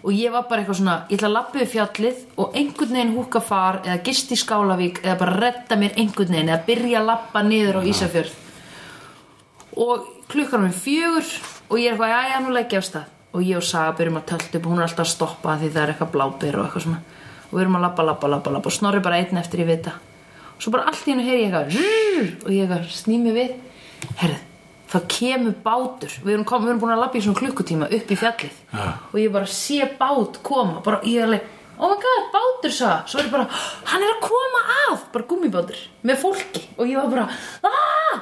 Speaker 2: og ég var bara eitthvað svona, ég ætla að lappa við fjallið og einhvern veginn húka far eða gist í Skálavík eða bara redda mér einhvern veginn eða byrja að lappa niður á Ísafjörð og klukkan er fjögur og ég er eitthvað, já, já, nú leggja af stað og ég og Saga byrjum að tölta upp, hún er alltaf að stoppa því það er eitthvað blábyr og eitthvað svona og við erum að labba, labba, labba, labba og snorri bara einn eftir í vita og svo bara allt í hennu heyri ég eitthvað rrrr, og ég eitthvað snými við herrið, þá kemur bátur við erum, kom, við erum búin að labba í svona klukkutíma upp í fjallið
Speaker 1: Já.
Speaker 2: og ég bara sé bát koma bara ég er alveg, oh my god, bátur Saga svo er ég bara, hann er að koma að bara gummibátur, með fólki og ég var bara, "Ah, aaaah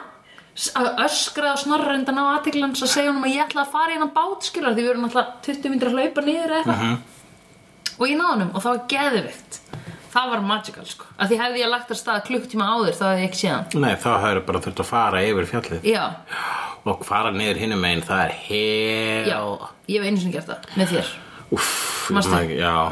Speaker 2: að öskra og snorra undan á aðteglans og segja honum að ég ætla að fara í hennan bát skilur því við erum alltaf 20 myndir að hlaupa niður eða eitthvað
Speaker 1: Mhm.
Speaker 2: og ég náði honum og það var geðvikt það var magical sko að því hefði ég lagt að staða klukktíma áður þá hefði ég ekki séðan
Speaker 1: Nei, þá hefur bara þurft að fara yfir fjallið
Speaker 2: já,
Speaker 1: og fara niður hinum megin, það er
Speaker 2: já,
Speaker 1: hel
Speaker 2: ég hef einu sinni gert það með þér,
Speaker 1: Úff, ég
Speaker 2: Manstu?
Speaker 1: maður ekki, já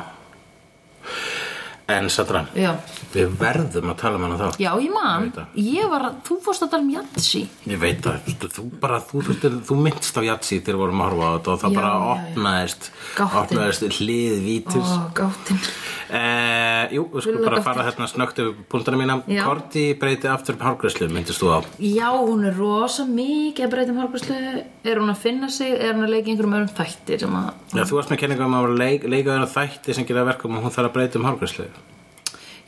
Speaker 1: En Sadran,
Speaker 2: já,
Speaker 1: við verðum að tala um hana þá
Speaker 2: já ég
Speaker 1: Ég
Speaker 2: man
Speaker 1: veit það.
Speaker 2: ég var, að- þú fórst að tala um Jatsi
Speaker 1: Ég veit það, þú- þú bara, þú, þú, þú myndst á Jatsi þegar við vorum að horfa á þetta og það
Speaker 2: Já,
Speaker 1: bara
Speaker 2: já, já.
Speaker 1: opnaðist,
Speaker 2: Gáttin.
Speaker 1: opnaðist hlið vítis.
Speaker 2: ó, gáttin
Speaker 1: Eh, jú, við skulum
Speaker 2: Vilja
Speaker 1: bara
Speaker 2: gáttin.
Speaker 1: fara hérna snögt yfir punktana mína.
Speaker 2: Já.
Speaker 1: Korti breyti aftur upp hárgræslu, myndist þú á.
Speaker 2: já, hún er rosa mikið að breyta um hálfgræslu er hún að finna sig, er hún að leika í einhverjum öðrum þætti sem að
Speaker 1: Já, þú varst með kenningum að vera leik, leikaður að þætti sem gera verkum og hún þarf að breyta um hárgræslu.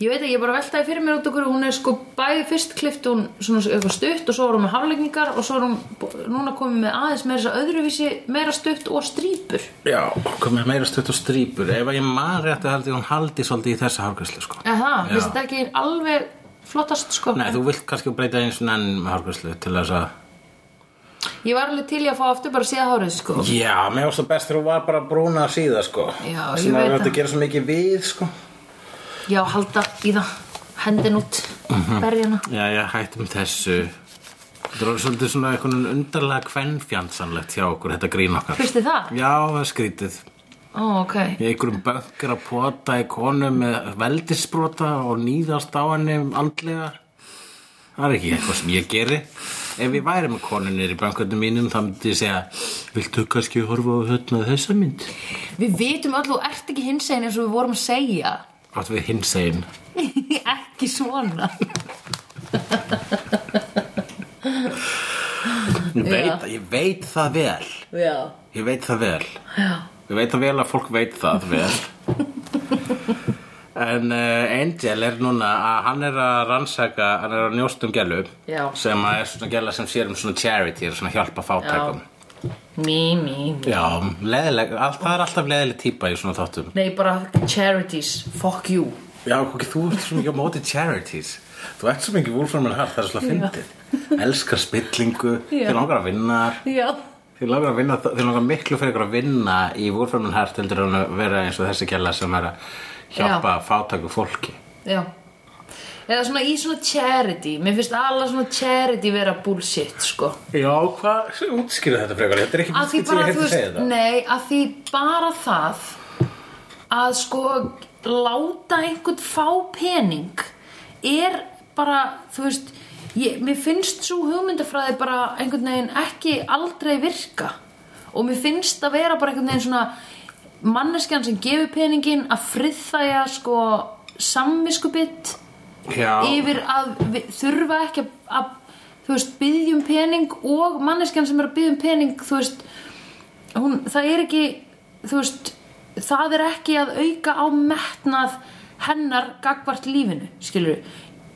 Speaker 2: Ég veit að ég bara veltaði fyrir mér út okkur hún er sko bæði fyrst klift hún svona eitthvað stutt og svo er hún með hafleggingar og svo er hún b- núna komið með aðeins meira þess að öðruvísi meira stutt og strípur
Speaker 1: Já, komið meira stöðt og strýpur. Ef að ég maður rétt að haldi, hún haldi svolítið í þessa hárgræslu, sko.
Speaker 2: eða
Speaker 1: Já.
Speaker 2: það, finnst þetta ekki alveg flottast sko
Speaker 1: Nei, þú vilt kannski breyta eins og enn hárgræslu til þess að...
Speaker 2: ég var alveg til í að fá aftur bara síða hárið sko
Speaker 1: Já, mér varst það best þegar hún var bara brúna að síða, sko.
Speaker 2: Já,
Speaker 1: Sem
Speaker 2: ég
Speaker 1: að
Speaker 2: veit
Speaker 1: við
Speaker 2: það.
Speaker 1: að gera svo mikið við, sko.
Speaker 2: já, halda í það, hendin út
Speaker 1: Mhm.
Speaker 2: berjana
Speaker 1: Já, já, hættum þessu. Þetta er orðið svolítið svona einhvern undarlega kvenfjansanlegt hjá okkur, þetta grín okkar.
Speaker 2: finnst þið það?
Speaker 1: Já, það er skrítið.
Speaker 2: ó, ok,
Speaker 1: Í einhverjum bökkar að pota í konu með veldisbrota og nýðast á henni andlega. Það er ekki eitthvað sem ég geri. Ef ég væri með konunir í banköndum mínum, þá myndi ég segja, viltu kannski horfa á hérna þessa mynd?
Speaker 2: við vitum öll og ert ekki hins eins og við vorum að segja
Speaker 1: Átt við hins einn.
Speaker 2: ekki svona
Speaker 1: Ég veit, ég veit það vel
Speaker 2: já,
Speaker 1: Ég veit það vel
Speaker 2: já
Speaker 1: Ég veit það vel að fólk veit það vel En uh, Angel er núna að hann er að rannsaka, hann er að njóst um gælu
Speaker 2: Já.
Speaker 1: sem að er svona gæla sem sér um svona charity og svona hjálpa fátækum
Speaker 2: mí, mí, mí
Speaker 1: Já, leðileg, all, það er alltaf leðileg típa í svona þáttum
Speaker 2: Nei, bara charities, fuck you
Speaker 1: Já, ok, þú ert svo mikið á móti charities Þú ert svo mikið Wolfram and Hart, það er svona fyndið Elskar spillingu,
Speaker 2: Já.
Speaker 1: þér langar að vinna þar
Speaker 2: Já
Speaker 1: Þið langar að vinna, þið langar miklu fyrir ykkur að vinna í Wolframin Hart heldur en að vera eins og þessi kjalla sem er að hjálpa fátæku fólki.
Speaker 2: Já Eða svona í svona charity Mér finnst alla svona charity vera bullshit, sko
Speaker 1: Já, hvað, útskýrðu þetta frekar, þetta er ekki
Speaker 2: Að því
Speaker 1: útskýrt sem
Speaker 2: bara,
Speaker 1: ég
Speaker 2: þú
Speaker 1: hefði segið
Speaker 2: veist,
Speaker 1: það.
Speaker 2: nei, að því bara það Að sko láta einhvern fá pening Er bara, þú veist ég, Mér finnst svo hugmyndafræði bara einhvern veginn ekki aldrei virka Og mér finnst að vera bara einhvern veginn svona Manneskjan sem gefur peningin að friðþæja sko samviskubitt
Speaker 1: Já,
Speaker 2: yfir að við, þurfa ekki að, að þú veist, byggjum pening og manneskjan sem er að byggjum pening þú veist, hún, það er ekki þú veist, það er ekki að auka á metnað hennar gagvart lífinu skilur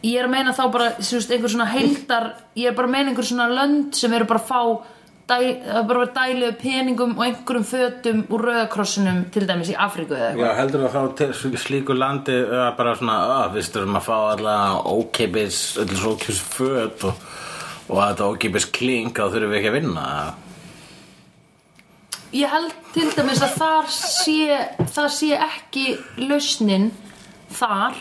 Speaker 2: ég er að meina þá bara þú veist, einhver svona heildar ég er bara að meina einhver svona lönd sem eru bara að fá dæ, að bara dælu peningum og einhverjum fötum úr rauðakrossunum til dæmis í Afríku eða eitthvað
Speaker 1: já heldur þú þá til sl- slíku landi uh, bara svona, að við stöðum að fá allavega ókeipis, allir svo ókeipis föt og, og að þetta ókeipis klink, þá þurfum við ekki að vinna.
Speaker 2: Ég held til dæmis að þar sé, það sé ekki lausnin þar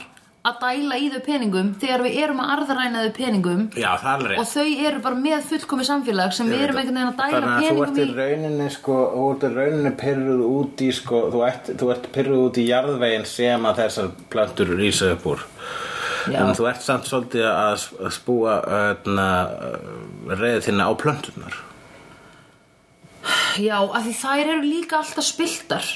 Speaker 2: að dæla í þau peningum þegar við erum að arðræna þau peningum
Speaker 1: Já, það er alveg
Speaker 2: og þau eru bara með fullkomi samfélag sem við erum einhvern veginn að dæla peningum
Speaker 1: Þannig
Speaker 2: í
Speaker 1: að þú ert í rauninni sko, þú ert í rauninni pyrruð út í sko, þú ert, þú ert pyrruð út í jarðveginn sem að þessar plantur rýsa upp úr
Speaker 2: Já.
Speaker 1: en þú ert samt svolítið að sp- að spúa öðna, reyði þína á plöntunar
Speaker 2: Já, af því þær eru líka alltaf spiltar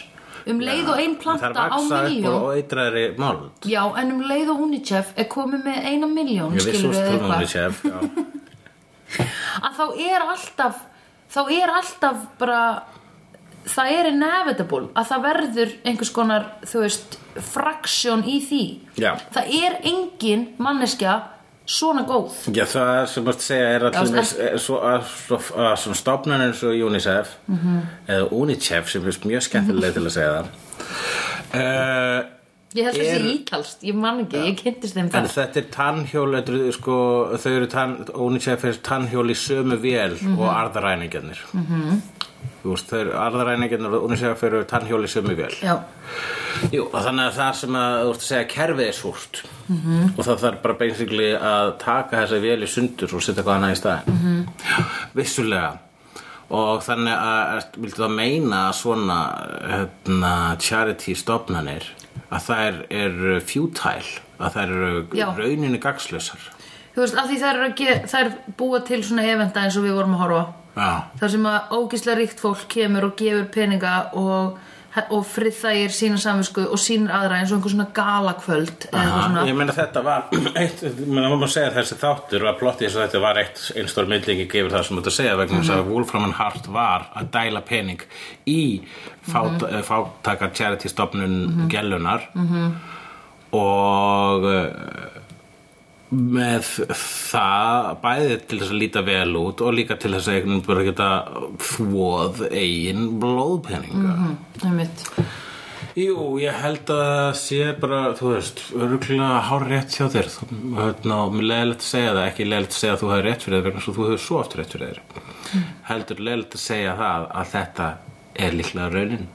Speaker 2: um leið og ein planta á miljón
Speaker 1: og eitræðri mold
Speaker 2: Já, en um leið og Unicef er komið með eina miljón
Speaker 1: ég vissi úr
Speaker 2: skilur við
Speaker 1: stúlum
Speaker 2: eitthvað
Speaker 1: við séf
Speaker 2: að þá er alltaf þá er alltaf bara það er inevitable að það verður einhvers konar þú veist, fraksjón í því
Speaker 1: Já.
Speaker 2: það er engin manneskja svona góð
Speaker 1: Já, það sem mást segja er að
Speaker 2: Já,
Speaker 1: til dæmis, eh, svo, að, svo, að svona stofnarnir eins og UNICEF
Speaker 2: Mhm.
Speaker 1: eða UNICEF sem er mjög skemmtileg til að segja það uh,
Speaker 2: ég
Speaker 1: Er-
Speaker 2: held þessi ítalst, ég man ekki, ég kynntist þeim
Speaker 1: en
Speaker 2: það
Speaker 1: þetta er tannhjól þetta eru, sko, þau eru tann, UNICEF er tannhjól í sömu vél og arðaræningjarnir mm veist, þau eru arðaræningjarnir og UNICEF eru tannhjól í sömu vél
Speaker 2: Já,
Speaker 1: Jú, og þannig að það sem að þú ert að segja kerfið er súrt -hmm. og það þarf bara basically að taka þessa vél í sundur og setja hvað hana í staðin mm -hmm. vissulega og þannig að ert- viltu það meina að svona hérna, charity stofnanir að þær eru futile að þær eru
Speaker 2: Já.
Speaker 1: rauninni gagslösar
Speaker 2: þú veist, af því þær, eru að ge- þær búa til svona eventa eins og við vorum að horfa á.
Speaker 1: Já,
Speaker 2: þar sem að ógislega ríkt fólk kemur og gefur peninga og, og friðþægir sína samvisku og sínir aðra eins og einhver svona galakvöld eða eitthvað
Speaker 1: Aha,
Speaker 2: svona
Speaker 1: ég meina þetta var eitt, ég meina maður má segja að þessi þáttur var plottið þess að þetta var eitt einstór myndlingi gefur það sem þetta segja vegna þess að Wolfram and Hart var að dæla pening í fát, mm fátaka charity stofnun gellunar -hmm. og eh, með það bæði til þess að líta vel út og líka til þess að einhvern bara geta þvoð eigin blóðpeninga
Speaker 2: einmitt
Speaker 1: Jú, ég held að það sé bara, þú veist, örgulega hár rétt hjá þér þú, hérna, og mér leiðilegt að segja það, ekki leiðilegt að segja að þú hefur rétt fyrir þér vegna svo þú hefur svo oft rétt fyrir þér heldur leiðilegt að segja það að þetta er líklega raunin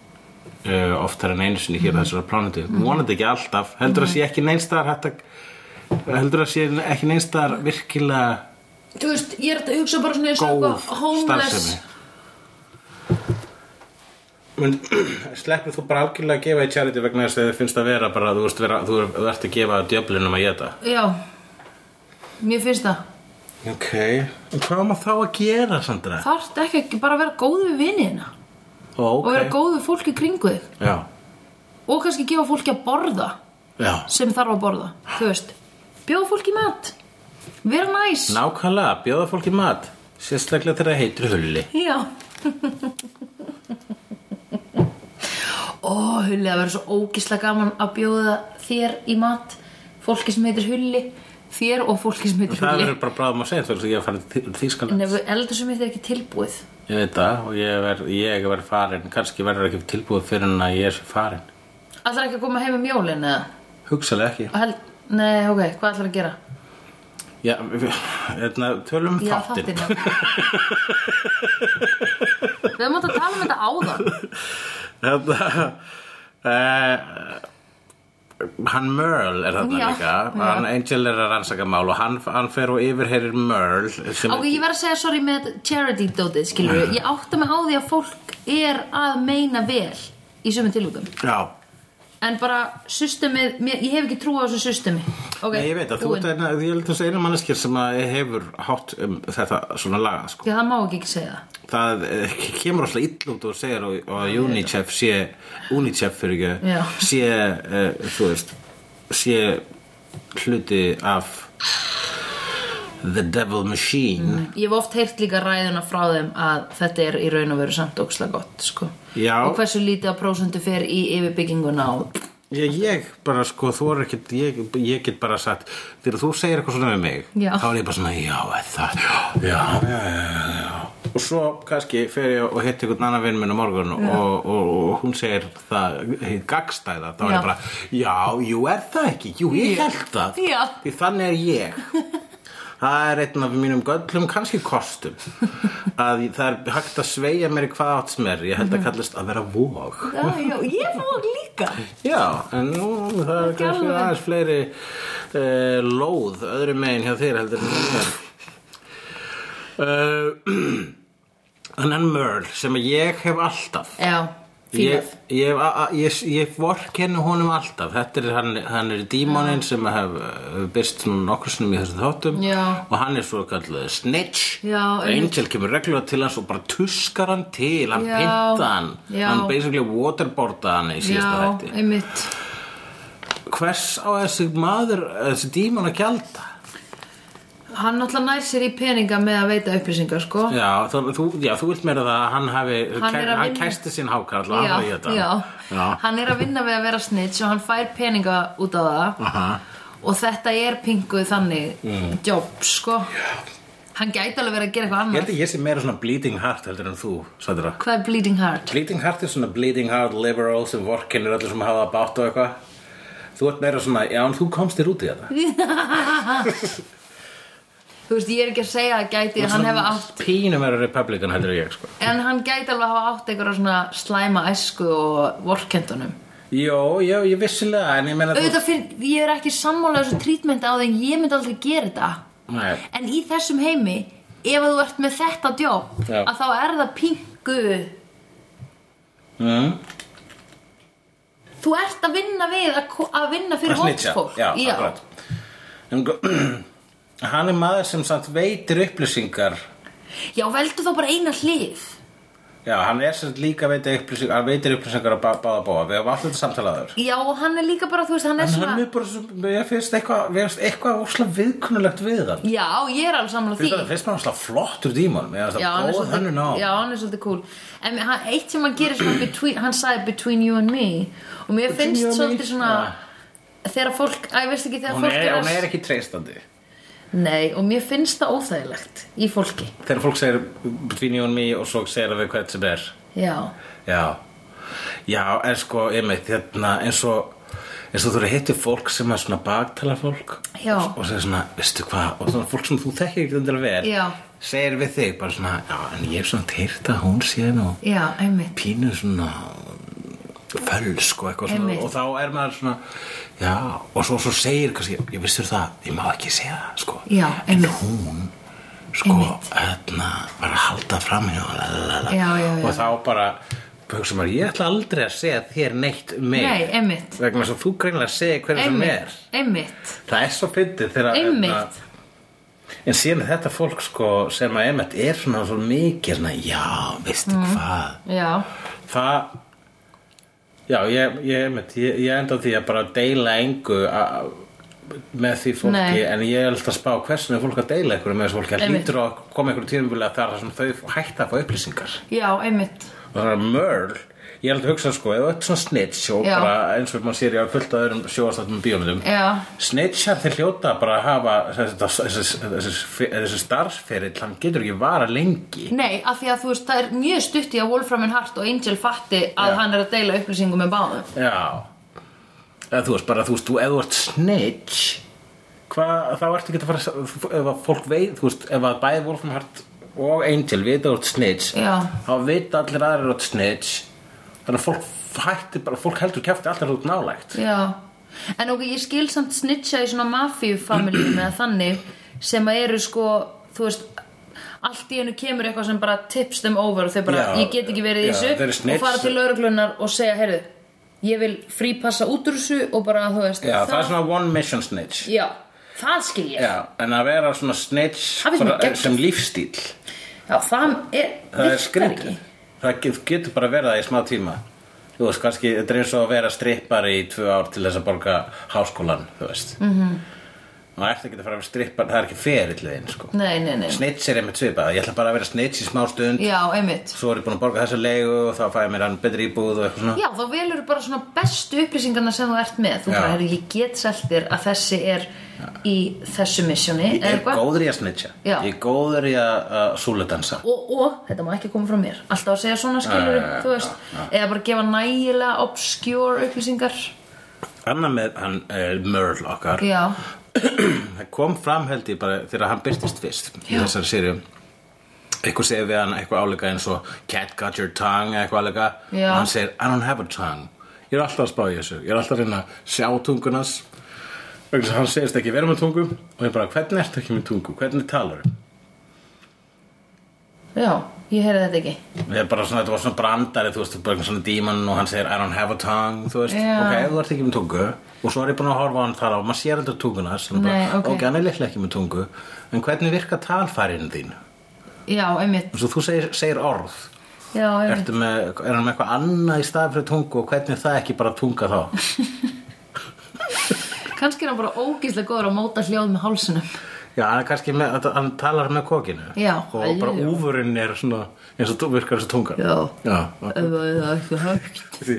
Speaker 1: uh, oftar en einu sinni hér á þessari plánutu vonandi ekki alltaf, heldur að sé ekki neinstar hægt að heldur að sé ekki neinstar virkilega
Speaker 2: þú veist, ég er þetta að hugsa bara svona eins og
Speaker 1: góð
Speaker 2: eitthvað homeless
Speaker 1: starfsemi Men sleppur þú bara algjörlega að gefa í charity vegna þess að þið finnst að vera bara, þú veist, vera, þú er- þú ert að gefa djöflinum að geta.
Speaker 2: já, mér finnst það
Speaker 1: Ok. En hvað á maður þá að gera, Sandra?
Speaker 2: þarft ekki, ekki bara að vera góð við vinina
Speaker 1: Ó, ok.
Speaker 2: og vera góð við fólki kringu þig
Speaker 1: Já,
Speaker 2: og kannski gefa fólki að borða
Speaker 1: já.
Speaker 2: sem þarf að borða, þú veist bjóða fólki í mat vera næs
Speaker 1: Nákvæmlega, bjóða fólki mat. Sérstaklega þegar það heitir hulli.
Speaker 2: Já Ó, Hulli, það verður svo ógislega gaman að bjóða þér í mat fólki sem heitir Hulli þér og fólki sem heitir
Speaker 1: Það
Speaker 2: Hulli
Speaker 1: verður bara bráðum að segja þú veist, ég er að fara til Þýskaland.
Speaker 2: En ef eldasum heitir ekki tilbúið
Speaker 1: Ég veit það og ég verð, ég verð farin. Kanski verður ekki tilbúið fyrir en að ég er farin.
Speaker 2: Ætlar ekki að koma heim um jólin eða?
Speaker 1: Hugsalega ekki.
Speaker 2: Hel... Nei, ok, hvað ætlar að gera?
Speaker 1: Já, við- hérna, tölum um
Speaker 2: Já,
Speaker 1: þáttinn.
Speaker 2: þáttinn, já. Við mátt að tala um þetta áðan
Speaker 1: Hérna, uh, hann Merle er þarna
Speaker 2: Já,
Speaker 1: líka,
Speaker 2: já.
Speaker 1: hann Angel er að rannsaka mál og hann, hann fer og yfirheyrir Merle sem
Speaker 2: Ok, ég verð að segja sorry með charity dótið, skilur
Speaker 1: Mm.
Speaker 2: við Ég átta mig á því að fólk er að meina vel í sömu tilvíkum
Speaker 1: Já,
Speaker 2: En bara systemið, mér, ég hef ekki trú á þessu systemi Ok,
Speaker 1: Nei, ég veit að þú ert eina, ég held að eina manneskir sem að hefur hátt um þetta svona laga sko.
Speaker 2: Já, það má ekki ekki segja það
Speaker 1: Það eh, kemur alltaf illa út og segir og, og UNICEF sé, UNICEF fyrir
Speaker 2: Já.
Speaker 1: ekki, sé, uh, þú veist, sé hluti af The Devil Machine
Speaker 2: Ég hef oft heyrt líka ræðuna frá þeim að þetta er í raun og veru samt ókslega gott sko.
Speaker 1: Já.
Speaker 2: Og hversu lítið að prósundu fer í yfirbygginguna og...
Speaker 1: Ég, ég bara sko, þú er ekkert, ég, ég get bara sagt, þegar þú segir eitthvað svona við mig,
Speaker 2: Já.
Speaker 1: þá er ég bara svona, já, er það, já, já, já, já, já. Og svo kannski fer ég og hitt einhvern annan vinn minn á morgun og, og, og, hún segir það, hið gagstæða, þá er
Speaker 2: Já.
Speaker 1: ég bara, já, jú, er það ekki, jú, ég
Speaker 2: Já.
Speaker 1: held það,
Speaker 2: Já.
Speaker 1: því þannig er ég. Það er einn af mínum göllum, kannski kostum, að það er hægt að sveigja mér í hvað átt sem er, ég
Speaker 2: Mhm.
Speaker 1: held að kallast að vera vóg.
Speaker 2: Já, já, ég fór líka
Speaker 1: Já, en nú það er kannski
Speaker 2: alveg.
Speaker 1: aðeins fleiri uh, lóð öðru megin hjá þér heldur en mér. Eh, Uh, Þannig Merle sem ég hef alltaf
Speaker 2: Já, fílað
Speaker 1: Ég, ég, hef a- a- ég, ég vorkenni honum alltaf Þetta er, hann, hann er dímoninn sem hef, hef byrst nú nokkursunum í þessum þáttum
Speaker 2: Já.
Speaker 1: og hann er svo kallið snitch
Speaker 2: Já,
Speaker 1: og
Speaker 2: einmitt.
Speaker 1: Angel kemur reglulega til hans og bara tuskar hann til, hann
Speaker 2: Já,
Speaker 1: pynta hann
Speaker 2: já.
Speaker 1: hann basically waterboarda hann í síðasta
Speaker 2: Já,
Speaker 1: þætti
Speaker 2: einmitt
Speaker 1: Hvers á þessi maður, þessi dímon að gjalda?
Speaker 2: Hann náttúrulega nær sér í peninga með að veita upplýsingar sko
Speaker 1: Já, þú, þú- já, þú vilt meira það að hann hafi,
Speaker 2: Hann er að
Speaker 1: hann
Speaker 2: vinna-
Speaker 1: kæsti sín hákarl og hann var í þetta.
Speaker 2: já.
Speaker 1: já.
Speaker 2: Hann er að vinna við að vera snitch og hann fær peninga út á það
Speaker 1: Aha.
Speaker 2: og þetta er pinguð þannig jobb sko Hann gæti alveg verið að gera eitthvað
Speaker 1: Mm. Ég
Speaker 2: annað
Speaker 1: held að ég sé meira svona bleeding heart heldur en þú, Sandra.
Speaker 2: Hvað er bleeding heart?
Speaker 1: Bleeding heart er svona bleeding heart liberal sem vorkenir allir sem hafa bátt og eitthvað. Þú ert meira svona, já, en þú komst þér út í þetta.
Speaker 2: Þú veist, ég er ekki að segja að gæti
Speaker 1: Þú ert
Speaker 2: hann
Speaker 1: svona
Speaker 2: hefur átt
Speaker 1: Pínu meira republican heldur en ég, sko.
Speaker 2: En hann gæti alveg að hafa átt einhverja svona slæma æsku og vorkendunum.
Speaker 1: Jó, já, ég vissilega, en ég meina þú...
Speaker 2: Auðvitað fyrir, ég er ekki sammála þessu trítmenti á því en ég myndi aldrei gera þetta.
Speaker 1: Nei,
Speaker 2: En í þessum heimi, ef að þú ert með þetta djóp,
Speaker 1: Já.
Speaker 2: að þá er það pingu.
Speaker 1: mm,
Speaker 2: Þú ert að vinna við, að, ko- að vinna fyrir
Speaker 1: að snitcha,
Speaker 2: vondfólk.
Speaker 1: já, akkurat. En gó- hann er maður sem samt veitir upplýsingar.
Speaker 2: Já, veldu þá bara eina hlið.
Speaker 1: Já, hann er samt líka veitir upplýsingar, hann veitir upplýsingar á bá- báða bóa. Við hefum alltaf þetta samtalaður.
Speaker 2: Já, og hann er líka bara, þú veist, hann er
Speaker 1: En
Speaker 2: svona...
Speaker 1: hann er bara, svo- mér finnst eitthvað, mér finnst eitthvað óslega viðkunnulegt við hann.
Speaker 2: Já, ég er alveg sammála því.
Speaker 1: Finnst það, finnst maður óslega flottur dímon, mér finnst
Speaker 2: Já,
Speaker 1: það
Speaker 2: hann er
Speaker 1: góð hönnun á.
Speaker 2: svolítið, já, hann er svolítið cool En hann, eitt sem hann gerir svona between, Hann sagði between you and me Og mér
Speaker 1: Between you
Speaker 2: finnst
Speaker 1: and me,
Speaker 2: svolítið svona Þegar fólk, að ég veist ekki Þegar
Speaker 1: Hún
Speaker 2: fólk
Speaker 1: er, hún
Speaker 2: að-
Speaker 1: er ekki treystandi.
Speaker 2: Nei, og mér finnst það óþægilegt Í fólki,
Speaker 1: Þegar fólk segir between you and me og svo segir það við hvert sem er.
Speaker 2: já
Speaker 1: Já, já, en sko, einmitt, hérna, eins og, eins og þú eru hittir fólk sem er svona baktala fólk.
Speaker 2: Já.
Speaker 1: Og segir svona, veistu hvað, og svona fólk sem þú þekkir ekki undir að vera.
Speaker 2: Já.
Speaker 1: Segir við þig bara svona, já, en ég er svona teirt að hún sé nú.
Speaker 2: Já, einmitt
Speaker 1: pínu svona fölsk og eitthvað svona
Speaker 2: Einmitt.
Speaker 1: og þá er maður svona já, og svo, svo segir kannski, ég vissur það, ég má ekki segja það sko.
Speaker 2: Já,
Speaker 1: en
Speaker 2: einmitt.
Speaker 1: hún sko,
Speaker 2: Einmitt.
Speaker 1: hérna var að halda fram hjá lalala.
Speaker 2: Já, já, já.
Speaker 1: og þá bara hugsa maður, ég ætla aldrei að segja þér neitt um mig
Speaker 2: Nei, einmitt
Speaker 1: vegna þess að þú greinlega segir hverja sem er
Speaker 2: Einmitt, einmitt
Speaker 1: það er svo fyndið þegar
Speaker 2: Einmitt.
Speaker 1: hérna, en síðan er þetta fólk sko, sem að einmitt er svona svo mikið svona, já, veistu
Speaker 2: Mm.
Speaker 1: hvað
Speaker 2: Já,
Speaker 1: Það Já, ég, ég, einmitt, ég, ég enda á því að bara deila engu a, með því fólki
Speaker 2: Nei.
Speaker 1: en ég held að spá hversum er fólk að deila einhverju með þessu fólki að
Speaker 2: Einmitt.
Speaker 1: hlýtur að koma einhverju tíðumvili að það er það sem þau hætta að fá upplýsingar
Speaker 2: já, einmitt
Speaker 1: og það er mörl ég held að hugsa sko, ef þú ert svona snitch og
Speaker 2: Já.
Speaker 1: bara eins og maður sér ég á fullt að öðrum sjóastáttum og bíómyndum
Speaker 2: Já,
Speaker 1: snitchar þeir hljóta bara að hafa þessi, þessi, þessi, þessi starfsferill hann getur ekki vara lengi
Speaker 2: nei, af því að þú veist Það er mjög stutt í að Wolfram and Hart og Angel fatti
Speaker 1: Já.
Speaker 2: að hann er að deila upplýsingum með báðum
Speaker 1: Já eða þú veist bara, þú veist, þú, ef þú ert snitch hvað, þá ertu ekki að fara að- þú- ef að fólk veit, þú veist, ef að bæði Wolfenhardt og Angel vita að þú ert snitch
Speaker 2: Já.
Speaker 1: þá vita allir aðrir að þú ert snitch þannig að fólk hætti bara, fólk heldur kjafti alltaf þú ert nálægt
Speaker 2: Já, en ok, ég skil samt snitcha í svona mafíufamiljum eða þannig sem að eru sko, þú veist, allt í hennu kemur eitthvað sem bara tips them over og þau bara,
Speaker 1: Já,
Speaker 2: ég get ekki verið í
Speaker 1: já, þeir eru
Speaker 2: þessu
Speaker 1: snitch.
Speaker 2: og fara til lauruglunar og segja, heyrðu, ég vil frípassa út úr þessu og bara, þú veist,
Speaker 1: Já, það er svona one mission snitch
Speaker 2: Já, það skil ég.
Speaker 1: Já, en að vera svona snitch
Speaker 2: Það finnst mér
Speaker 1: bara eh,
Speaker 2: geggjað.
Speaker 1: sem lífstíl
Speaker 2: Já, það er,
Speaker 1: það er
Speaker 2: virkar
Speaker 1: skrítið
Speaker 2: ekki.
Speaker 1: það get- getur bara verið það í smá tíma þú veist, kannski, þetta er eins og að vera strippari í tvö ár til þess að borga háskólan þú veist mm
Speaker 2: Mhm.
Speaker 1: -hmm. og eftir að geta fara að vera strippari, það er ekki ferilliðin sko.
Speaker 2: Nei, nei, nei.
Speaker 1: snitch er einmitt svipað, ég ætla bara að vera snitch í smá stund
Speaker 2: Já, einmitt.
Speaker 1: svo er ég búin að borga þessa leigu og þá fæ ég mér hann betri íbúð og eitthvað svona
Speaker 2: Já, þá velur bara svona bestu upplýsingarna sem þú ert með. Þú
Speaker 1: Já.
Speaker 2: bara, heyrðu, ég get selt þér að þessi er í þessu missjóni.
Speaker 1: ég er góður í að snitcha,
Speaker 2: Já.
Speaker 1: ég er góður í að að súludansa
Speaker 2: og, og þetta má ekki koma frá mér alltaf að segja svona skilur
Speaker 1: Nei,
Speaker 2: þú veist, eða bara gefa nægilega obscure upplýsingar
Speaker 1: annar með hann er Merle okkar
Speaker 2: já,
Speaker 1: það kom fram held ég bara þegar hann byrtist fyrst í
Speaker 2: Já.
Speaker 1: þessari sériu eitthvað segir við hann eitthvað áleika eins og cat got your tongue eða eitthvað áleika
Speaker 2: Já.
Speaker 1: og hann segir I don't have a tongue ég er alltaf að spá í þessu ég er alltaf að reyna að sjá tungunas vegna þess að hann segist ekki vera með tungu og ég bara hvernig ertu ekki með tungu hvernig talar
Speaker 2: já Ég heyrði þetta ekki
Speaker 1: Ég er bara svona, þetta var svona brandari, þú veist, bara svona díman og hann segir I don't have a tongue, þú veist,
Speaker 2: Já.
Speaker 1: ok, þú ert ekki með tungu og svo er ég búin að horfa á hann þar á, maður sér aldrei tunguna, sem bara,
Speaker 2: Nei, ok.
Speaker 1: ok, hann er líklega ekki með tungu, en hvernig virka talfærinu þín?
Speaker 2: Já, einmitt
Speaker 1: Svo þú segir, segir orð,
Speaker 2: Já, einmitt
Speaker 1: Ertu með, er hann með eitthvað annað í stað fyrir tungu og hvernig er það ekki bara tunga þá?
Speaker 2: Kannski er hann bara ógíslega góður að móta hljóð með hálsunum
Speaker 1: Já, hann er kannski með, þetta- hann talar með kokinu
Speaker 2: Já,
Speaker 1: og bara
Speaker 2: já.
Speaker 1: úfurinn er svona, eins og þú virkar þessu tungan
Speaker 2: Já.
Speaker 1: Já, ok.
Speaker 2: Ef það er ekki högt
Speaker 1: Því,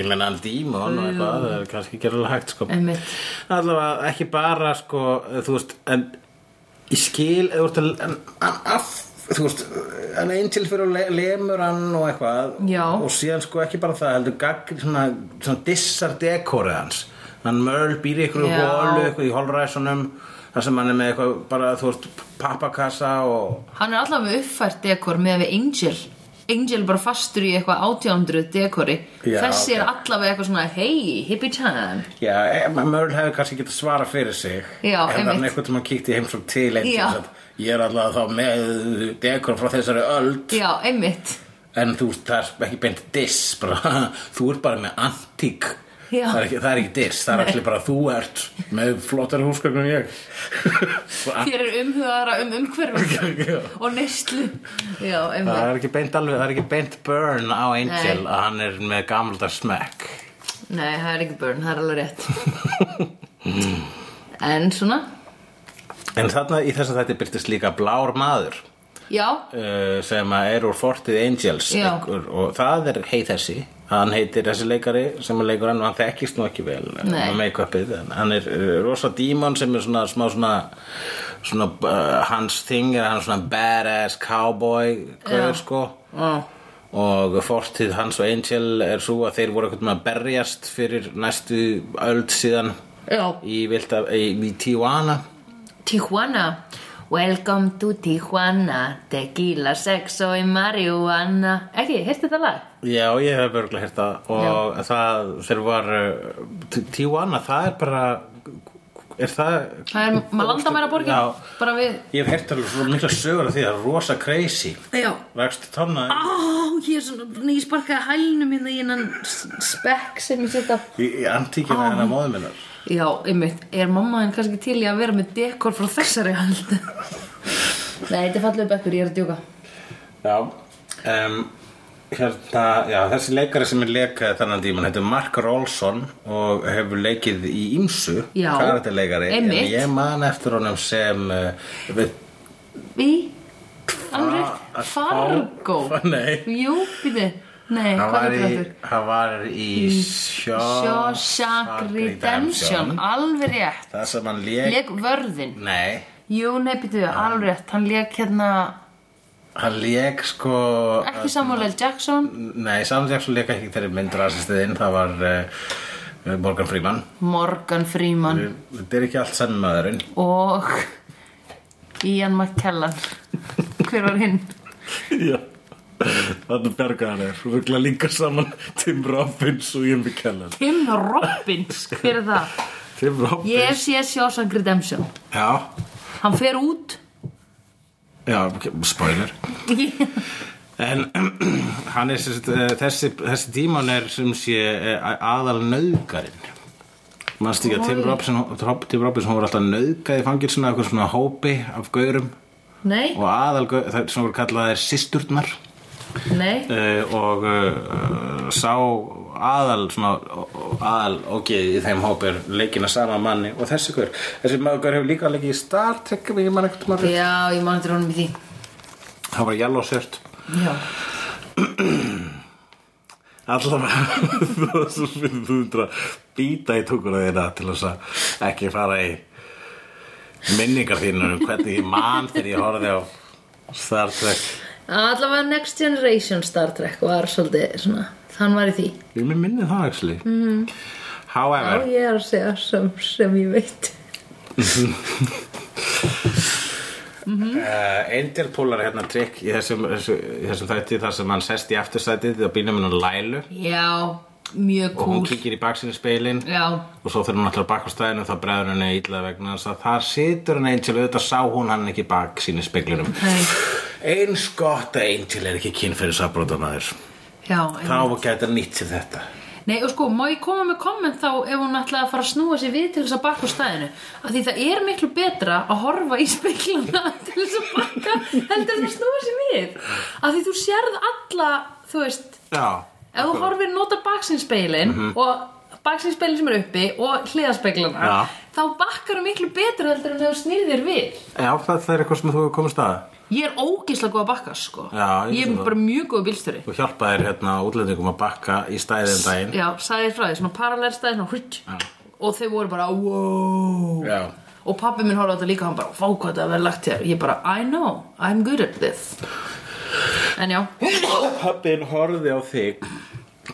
Speaker 1: ég menna hann díma og annað eitthvað, það er kannski ekki alveg hægt sko.
Speaker 2: Einmitt
Speaker 1: allavega ekki bara sko, þú veist, en ég skil eða þú veist, en, en, af, þú veist, en einn til fyrir le, lemur hann og eitthvað
Speaker 2: Já.
Speaker 1: og síðan sko ekki bara það, heldur gagn, svona, svona dissar dekorið hans hann mörl býr í einhverju
Speaker 2: Já.
Speaker 1: hólu eitthvað í holræsunum þar sem hann er með eitthvað bara, þú veist, pappakassa og
Speaker 2: Hann er allavega með uppfært dekor með við Angel Angel bara fastur í eitthvað 1800 dekori
Speaker 1: Já,
Speaker 2: Þessi er
Speaker 1: ok.
Speaker 2: allavega eitthvað svona Hey, hippie time
Speaker 1: Já, e- Mörl hefði kannski getað svarað fyrir sig
Speaker 2: Já,
Speaker 1: Ef
Speaker 2: einmitt.
Speaker 1: hann einhvern tímann kíkti í heimsók til einn
Speaker 2: Já.
Speaker 1: Ég er allavega þá með dekor frá þessari öld
Speaker 2: Já, einmitt
Speaker 1: En þú veist, það er ekki beint diss bara, Þú ert bara með antík
Speaker 2: Já.
Speaker 1: það er, ekki, það er ekki diss, það er allir bara þú ert með flottari húsgögn en ég Ah.
Speaker 2: Þér er umhugaðara um umhverfið og neyslu Já,
Speaker 1: Það
Speaker 2: einmitt
Speaker 1: er ekki beint alveg, það er ekki beint burn á Angel
Speaker 2: Nei.
Speaker 1: að hann er með gamlda smekk
Speaker 2: Nei, það er ekki burn, það er alveg rétt En svona
Speaker 1: En þarna í þess að þetta byrtist líka blár maður
Speaker 2: Já,
Speaker 1: uh, sem að er úr Fortið Angels
Speaker 2: Já.
Speaker 1: einhver, og það er heið þessi hann heitir þessi leikari sem er leikur hann og hann þekkist nú ekki vel eh,
Speaker 2: Nei.
Speaker 1: með make-upið en hann er uh, rosa dímon sem er svona smá svona, svona uh, hans thing er hann er svona badass cowboy gaur sko
Speaker 2: Já.
Speaker 1: og fortið hans og Angel er svo að þeir voru eitthvað með að berjast fyrir næstu öld síðan
Speaker 2: já
Speaker 1: í, vilda, í, í Tijuana
Speaker 2: Tijuana Welcome to Tijuana Tequila, sexo y marihuana Ekki, heyrstu það lag?
Speaker 1: Já, ég hef örgulega hérta og það þeir var uh, T- Tijuana, það er bara er það
Speaker 2: Það er, maður landa mér að borgin
Speaker 1: Já.
Speaker 2: Bara við
Speaker 1: ég hef hérta alveg svo mikla sögur af því það er rosa crazy
Speaker 2: Já
Speaker 1: Rækstu tanna
Speaker 2: Á, ég er svona, ég sparkaði hælnum minna í hennan s- spekk sem ég setja
Speaker 1: í, í antíkina ah. hennar móðum minnar
Speaker 2: Já, einmitt, er mamma þinn kannski til í að vera með dekor frá þessari hald Nei, þetta er fallegu bekkur, ég er að djúka
Speaker 1: Já um, hérna, já, þessi leikari sem er leikaði þannan tíman heitir Mark Rolson og hefur leikið í Ímsu
Speaker 2: Já.
Speaker 1: karakterleikari en
Speaker 2: Einmitt.
Speaker 1: ég man eftir honum sem uh, við,
Speaker 2: Í, alveg rétt, Fargo
Speaker 1: Nei
Speaker 2: Jú, býti, nei,
Speaker 1: Hann
Speaker 2: hvað
Speaker 1: var,
Speaker 2: er
Speaker 1: í,
Speaker 2: þetta?
Speaker 1: hann var í
Speaker 2: Shawshank Redemption Alveg rétt
Speaker 1: Það sem hann lék
Speaker 2: Leg vörðin
Speaker 1: Nei,
Speaker 2: Jú, nei, býtu, alveg rétt Hann leg hérna
Speaker 1: hann lék sko
Speaker 2: Ekki Samuel L. Jackson
Speaker 1: Nei, Samuel Jackson lék ekki þeirri mynd rasistiðinn Það var uh, Morgan Freeman
Speaker 2: Morgan Freeman
Speaker 1: Þetta er ekki allt sann maðurinn
Speaker 2: Og Ian McKellan Hver var hinn?
Speaker 1: Já Þannig bjargaði hann er Þú vilja líka saman Tim Robbins og Jimmy Kellen
Speaker 2: Tim Robbins, hver er það?
Speaker 1: Tim Robbins
Speaker 2: Ég sé Shawshank Redemption
Speaker 1: Já,
Speaker 2: Hann fer út
Speaker 1: já, spoiler En hann er sérst, þessi, þessi dímon er sem sé eh, aðal nöðgarinn Manstu ekki að Tim
Speaker 2: Oj.
Speaker 1: Robinson, Tim Robinson hún var alltaf nöðgað í fangilsinu eitthvað svona hópi af gaurum
Speaker 2: Nei,
Speaker 1: og aðal gaur, það sem voru kallaðir sýsturnar
Speaker 2: nei
Speaker 1: eh, og eh, sá aðal svona, aðal ógeð í þeim hópi er leikina sama manni og þessi gaur þessi maður gaur hefur líka leikið í Star Trek ef ég man ekkert maður
Speaker 2: Já, ég man þetta honum í því
Speaker 1: það var yellow shirt
Speaker 2: Já,
Speaker 1: allavega þú þú finnir þú myndir að býta í tunguna þína til þess að ekki fara í minningar þínu um hvernig ég man þegar ég horfði á Star Trek
Speaker 2: allavega Next Generation Star Trek var svolítið svona Hann var í því
Speaker 1: ég er mér minni það actually mm.
Speaker 2: Já,
Speaker 1: however
Speaker 2: ég er að segja sem, sem ég veit
Speaker 1: uh, Angel púlar hérna trikk í þessum, þessu, í þessum þætti þar sem hann sest í aftursætið og býnum hennar Lælu
Speaker 2: Já, mjög
Speaker 1: og hún
Speaker 2: cool
Speaker 1: kíkir í baksinni speilin
Speaker 2: Já,
Speaker 1: og svo þegar hún ætlar bakk á stæðinu þá bregður henni illa vegna þess að þar situr hann Angel auðvitað sá hún hann ekki bakk síni speglinum
Speaker 2: nei,
Speaker 1: eins gott að Angel er ekki kynferðisabrótamaður
Speaker 2: Já,
Speaker 1: þá
Speaker 2: einmitt.
Speaker 1: gæti hann nýtt sér þetta
Speaker 2: Nei, og sko, má ég koma með komment þá ef hún ætlaði að fara að snúa sér við til þess að bakka úr stæðinu? Af því það er miklu betra að horfa í speiklana til þess að bakka heldur en að snúa sér við. Af því þú sérð alla, þú veist,
Speaker 1: Já,
Speaker 2: ef þú horfir nota baksinsspeilin
Speaker 1: Mhm.
Speaker 2: og baksinsspeilin sem er uppi og hliðaspeiklana,
Speaker 1: Já.
Speaker 2: þá bakkar þú miklu betra heldur en ef þú snýrðir við.
Speaker 1: já það, það er eitthvað sem þú hefur komist að
Speaker 2: Ég er ógislega góð að bakka, sko.
Speaker 1: Já, ég veit
Speaker 2: ég, er
Speaker 1: það.
Speaker 2: bara mjög góð bílstöri.
Speaker 1: Þú hjálpaðir hérna útlendingum að bakka í stæðin daginn
Speaker 2: Já, sagði frá því, svona parallelstæði, svona hrutt Og þau voru bara, wow
Speaker 1: Já.
Speaker 2: Og pabbi minn horfði á þetta líka, hann bara, vá hvað það er vel lagt hér Ég bara, I know, I'm good at this En já,
Speaker 1: Pappin horfði á þig